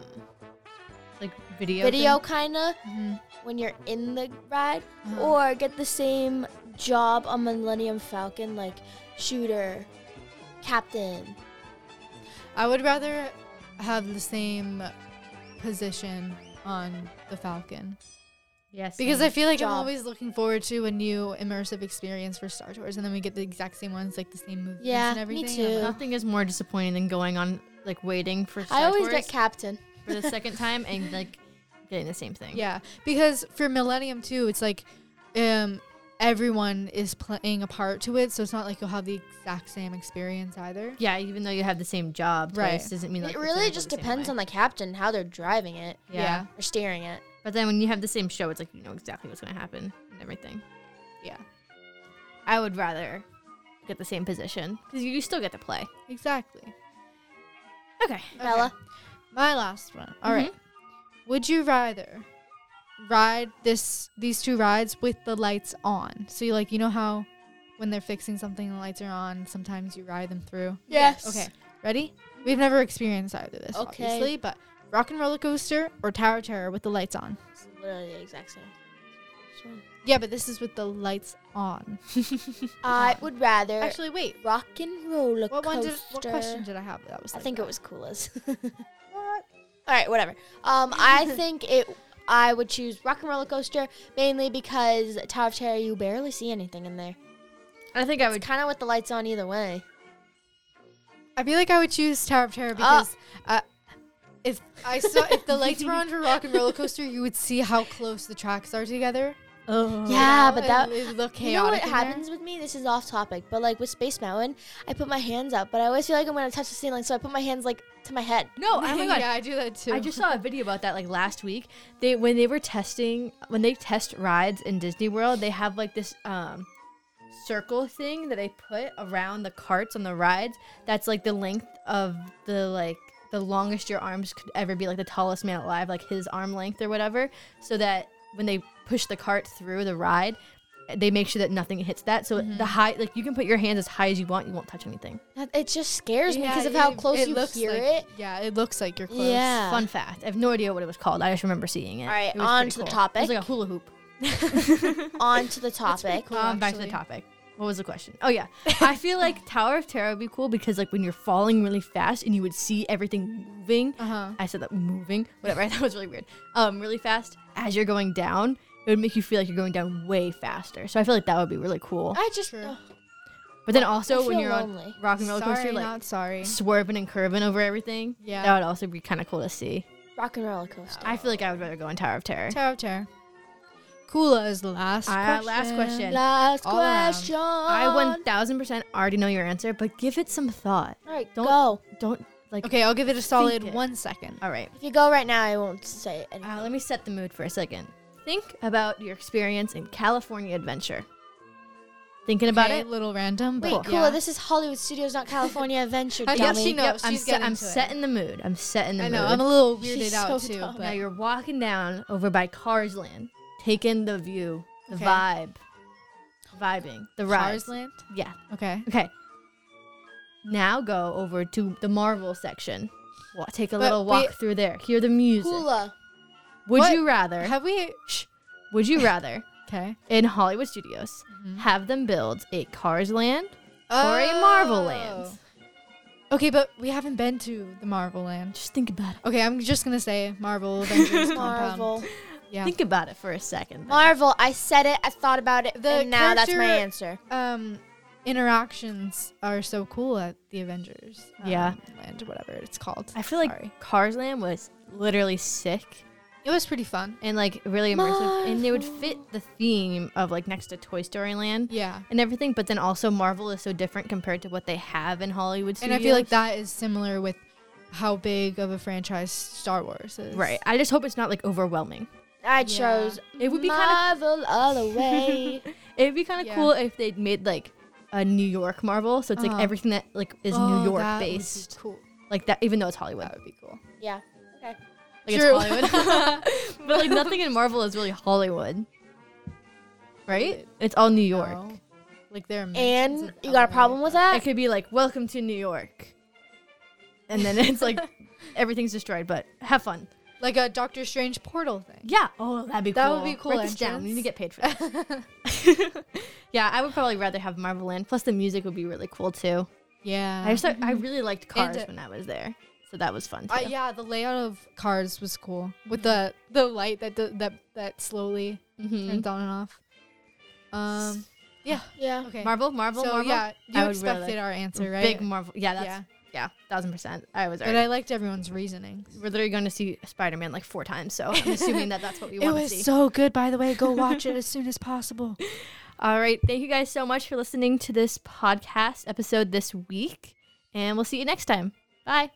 [SPEAKER 3] like video.
[SPEAKER 1] video kinda
[SPEAKER 2] Mhm.
[SPEAKER 1] when you're in the ride
[SPEAKER 2] Uh-huh.
[SPEAKER 1] or get the same job on Millennium Falcon like shooter, captain.
[SPEAKER 2] I would rather have the same position on the Falcon
[SPEAKER 3] Yes.
[SPEAKER 2] because I feel like I'm
[SPEAKER 1] Job.
[SPEAKER 2] always looking forward to a new immersive experience for Star Tours, and then we get the exact same ones, like the same movies
[SPEAKER 1] Yeah,
[SPEAKER 2] and
[SPEAKER 1] me
[SPEAKER 2] everything. I'm
[SPEAKER 1] too.
[SPEAKER 2] like,
[SPEAKER 3] nothing is more disappointing than going on like waiting for.
[SPEAKER 1] I always
[SPEAKER 3] Centaurs
[SPEAKER 1] get captain.
[SPEAKER 3] for the second time and like getting the same thing.
[SPEAKER 2] "Oh, Yeah, because for Millennium too, it's like um everyone is playing a part to it, so it's not like you'll have the exact same experience either.
[SPEAKER 3] Yeah, even though you have the same job,
[SPEAKER 2] Right.
[SPEAKER 3] twice doesn't mean like
[SPEAKER 1] It really just depends on the captain how they're driving it
[SPEAKER 3] Yeah.
[SPEAKER 1] or steering it.
[SPEAKER 3] But then when you have the same show, it's like you know exactly what's going to happen and everything.
[SPEAKER 2] Yeah.
[SPEAKER 3] I would rather get the same position because you still get to play.
[SPEAKER 2] Exactly.
[SPEAKER 3] Okay.
[SPEAKER 1] Bella, Mm-hmm.
[SPEAKER 2] My last one. All right. Would you rather ride this these two rides with the lights on? So you like you know how when they're fixing something the lights are on, sometimes you ride them through.
[SPEAKER 1] Yes.
[SPEAKER 2] Okay. Ready? We've never experienced either of this,
[SPEAKER 1] Okay.
[SPEAKER 2] obviously, but rock and roller coaster or Tower Terror with the lights on.
[SPEAKER 1] it's literally the exact same. This one.
[SPEAKER 2] Yeah, but this is with the lights on.
[SPEAKER 1] I would rather
[SPEAKER 2] Actually, wait.
[SPEAKER 1] rock and roller
[SPEAKER 2] What one
[SPEAKER 1] coaster.
[SPEAKER 2] did? What question did I have that was?
[SPEAKER 1] I
[SPEAKER 2] like
[SPEAKER 1] think
[SPEAKER 2] that?
[SPEAKER 1] it was coolest. All right, whatever. Um, I think it. I would choose Rock and Roller Coaster mainly because Tower of Terror. You barely see anything in there.
[SPEAKER 3] I think I would
[SPEAKER 1] It's kind of with the lights on either way.
[SPEAKER 2] I feel like I would choose Tower of Terror because uh, if I saw if the lights were on for Rock and Roller Coaster, you would see how close the tracks are together.
[SPEAKER 3] Oh.
[SPEAKER 2] you
[SPEAKER 1] Yeah,
[SPEAKER 2] know,
[SPEAKER 1] but
[SPEAKER 2] and
[SPEAKER 1] that-
[SPEAKER 2] it would look chaotic.
[SPEAKER 1] you know what
[SPEAKER 2] in there.
[SPEAKER 1] happens with me? This is off topic, but like with Space Mountain, I put my hands up, but I always feel like I'm gonna touch the ceiling, so I put my hands like to my head.
[SPEAKER 3] No, oh my god.
[SPEAKER 2] yeah, I do that too.
[SPEAKER 3] I just saw a video about that like last week. They when they were testing when they test rides in Disney World, they have like this um circle thing that they put around the carts on the rides that's like the length of the like the longest your arms could ever be like the tallest man alive like his arm length or whatever so that when they push the cart through the ride they make sure that nothing hits that so Mm-hmm. the high like you can put your hands as high as you want you won't touch anything
[SPEAKER 1] That- It just scares me
[SPEAKER 2] Yeah,
[SPEAKER 1] because of how
[SPEAKER 2] it-
[SPEAKER 1] close
[SPEAKER 2] it
[SPEAKER 1] you
[SPEAKER 2] looks
[SPEAKER 1] hear
[SPEAKER 2] like-
[SPEAKER 1] it.
[SPEAKER 2] Yeah, it looks like you're close.
[SPEAKER 1] Yeah.
[SPEAKER 3] Fun fact. I have no idea what it was called. I just remember seeing it.
[SPEAKER 1] Uh, All right,
[SPEAKER 3] It was
[SPEAKER 1] on
[SPEAKER 3] pretty
[SPEAKER 1] to the
[SPEAKER 3] It was
[SPEAKER 1] topic.
[SPEAKER 3] like a hula hoop.
[SPEAKER 1] On to the topic.
[SPEAKER 2] cool,
[SPEAKER 3] um, back to the
[SPEAKER 2] actually.
[SPEAKER 3] topic. What was the question? Oh yeah, I feel like Tower of Terror would be cool because like when you're falling really fast and you would see everything moving.
[SPEAKER 1] Uh-huh.
[SPEAKER 2] Uh huh.
[SPEAKER 3] I said that moving, whatever. I thought it was really weird. Um, really fast as you're going down, it would make you feel like you're going down way faster. So I feel like that would be really cool.
[SPEAKER 1] I just
[SPEAKER 2] True.
[SPEAKER 1] ugh,
[SPEAKER 3] But then
[SPEAKER 1] I
[SPEAKER 3] also
[SPEAKER 1] feel
[SPEAKER 3] when you're
[SPEAKER 1] lonely.
[SPEAKER 3] on rock and roller
[SPEAKER 2] sorry,
[SPEAKER 3] coaster, like
[SPEAKER 2] not sorry.
[SPEAKER 3] swerving and curving over everything,
[SPEAKER 2] Yeah.
[SPEAKER 3] that would also be kind of cool to see.
[SPEAKER 1] Rock and Roller Coaster.
[SPEAKER 3] I feel like I would rather go on Tower of Terror.
[SPEAKER 2] Tower of Terror. Kula is the last.
[SPEAKER 3] Ah,
[SPEAKER 2] question.
[SPEAKER 3] last question.
[SPEAKER 1] Last
[SPEAKER 2] All around.
[SPEAKER 1] question.
[SPEAKER 3] I one thousand percent already know your answer, but give it some thought.
[SPEAKER 1] All right,
[SPEAKER 3] Don't-
[SPEAKER 1] go.
[SPEAKER 3] Don't like.
[SPEAKER 2] Okay, I'll give it a solid
[SPEAKER 3] it.
[SPEAKER 2] one second.
[SPEAKER 3] All right.
[SPEAKER 1] If you go right now, I won't say anything.
[SPEAKER 2] Um,
[SPEAKER 3] Uh, let me set the mood for a second. Think about your experience in California Adventure. Thinking about
[SPEAKER 2] Okay,
[SPEAKER 3] it.
[SPEAKER 2] a little random.
[SPEAKER 1] Wait,
[SPEAKER 2] But
[SPEAKER 1] cool.
[SPEAKER 2] yeah.
[SPEAKER 1] This is Hollywood Studios, not California Adventure.
[SPEAKER 2] I
[SPEAKER 1] dummy.
[SPEAKER 2] thought she knows.
[SPEAKER 3] I'm,
[SPEAKER 2] She's
[SPEAKER 3] set,
[SPEAKER 2] getting
[SPEAKER 3] I'm
[SPEAKER 2] to it.
[SPEAKER 3] setting the mood. I'm setting the
[SPEAKER 2] I
[SPEAKER 3] mood.
[SPEAKER 2] know. I'm a little weirded
[SPEAKER 1] She's
[SPEAKER 2] out
[SPEAKER 1] so
[SPEAKER 2] too.
[SPEAKER 1] dumb.
[SPEAKER 3] now
[SPEAKER 2] But
[SPEAKER 3] you're walking down over by Cars Land, taking the view, the
[SPEAKER 2] Okay.
[SPEAKER 3] vibe, vibing, the ride.
[SPEAKER 2] Carsland.
[SPEAKER 3] Yeah.
[SPEAKER 2] Okay.
[SPEAKER 3] Okay. Now go over to the Marvel section. Wa- take a
[SPEAKER 2] But
[SPEAKER 3] little walk
[SPEAKER 2] we-
[SPEAKER 3] through there. Hear the music.
[SPEAKER 1] Hula.
[SPEAKER 3] Would
[SPEAKER 2] What?
[SPEAKER 3] you rather?
[SPEAKER 2] Have we?
[SPEAKER 3] Shh. would you rather
[SPEAKER 2] Okay.
[SPEAKER 3] in Hollywood Studios have them build a Cars Land or a Marvel Land?
[SPEAKER 2] Oh. Okay, but we haven't been to the Marvel Land.
[SPEAKER 3] Just think about it.
[SPEAKER 2] Okay, I'm just gonna say Marvel Avengers compound.
[SPEAKER 1] Marvel.
[SPEAKER 2] Yeah.
[SPEAKER 3] Think about it for a second.
[SPEAKER 1] Marvel. I said it. I thought about it.
[SPEAKER 2] The
[SPEAKER 1] and now that's my
[SPEAKER 2] character-
[SPEAKER 1] answer.
[SPEAKER 2] um, interactions are so cool at the Avengers. um,
[SPEAKER 3] Yeah.
[SPEAKER 2] Land, whatever it's called.
[SPEAKER 3] I feel like
[SPEAKER 2] Sorry.
[SPEAKER 3] Cars Land was literally sick
[SPEAKER 2] It was pretty fun.
[SPEAKER 3] and like really immersive, and they would fit the theme of like next to Toy Story Land
[SPEAKER 2] Yeah.
[SPEAKER 3] and everything. But then also Marvel is so different compared to what they have in Hollywood.
[SPEAKER 2] And
[SPEAKER 3] Studios.
[SPEAKER 2] I feel like that is similar with how big of a franchise Star Wars is.
[SPEAKER 3] Right. I just hope it's not like overwhelming.
[SPEAKER 1] I
[SPEAKER 2] Yeah.
[SPEAKER 1] chose
[SPEAKER 3] It would be kind of
[SPEAKER 1] Marvel all the way.
[SPEAKER 3] it'd be kind of
[SPEAKER 2] Yeah.
[SPEAKER 3] cool if they made like a New York Marvel, so it's like
[SPEAKER 2] Uh-huh.
[SPEAKER 3] everything that like is
[SPEAKER 2] Oh,
[SPEAKER 3] New York
[SPEAKER 2] that would be
[SPEAKER 3] based,
[SPEAKER 2] Cool.
[SPEAKER 3] like that. Even though it's Hollywood,
[SPEAKER 2] That would be cool.
[SPEAKER 1] yeah. Okay.
[SPEAKER 3] like
[SPEAKER 2] True.
[SPEAKER 3] it's Hollywood, but like nothing in Marvel is really Hollywood, right? It's all New York.
[SPEAKER 2] No. Like they're
[SPEAKER 1] And you got a problem with that?
[SPEAKER 3] It could be like Welcome to New York, and then it's like everything's destroyed. But have fun.
[SPEAKER 2] like a Doctor Strange portal thing.
[SPEAKER 3] Yeah. Oh, that'd be cool.
[SPEAKER 2] That would be cool
[SPEAKER 3] Write this down. We need to
[SPEAKER 2] entrance.
[SPEAKER 3] get paid for that. yeah, I would probably rather have Marvel Land. Plus, the music would be really cool too.
[SPEAKER 2] Yeah.
[SPEAKER 3] I just I really liked Cars
[SPEAKER 2] uh,
[SPEAKER 3] when I was there, so that was fun. Too.
[SPEAKER 2] Uh, yeah, the layout of cars was cool with the the light that d- that that slowly
[SPEAKER 3] Mhm.
[SPEAKER 2] turns on and off. Um, yeah.
[SPEAKER 1] Yeah.
[SPEAKER 2] Okay.
[SPEAKER 3] Marvel, Marvel,
[SPEAKER 2] so
[SPEAKER 3] Marvel.
[SPEAKER 2] yeah, you
[SPEAKER 3] I would really
[SPEAKER 2] expected
[SPEAKER 3] like
[SPEAKER 2] our answer, right?
[SPEAKER 3] Big Marvel. Yeah, that's
[SPEAKER 2] yeah.
[SPEAKER 3] yeah, thousand percent. I was
[SPEAKER 2] But
[SPEAKER 3] already.
[SPEAKER 2] I liked everyone's reasoning.
[SPEAKER 3] we're literally going to see Spider Man like four times, so I'm assuming that that's what we want to see.
[SPEAKER 2] so good, by the way. Go watch it as soon as possible.
[SPEAKER 3] All right, thank you guys so much for listening to this podcast episode this week, and we'll see you next time. Bye.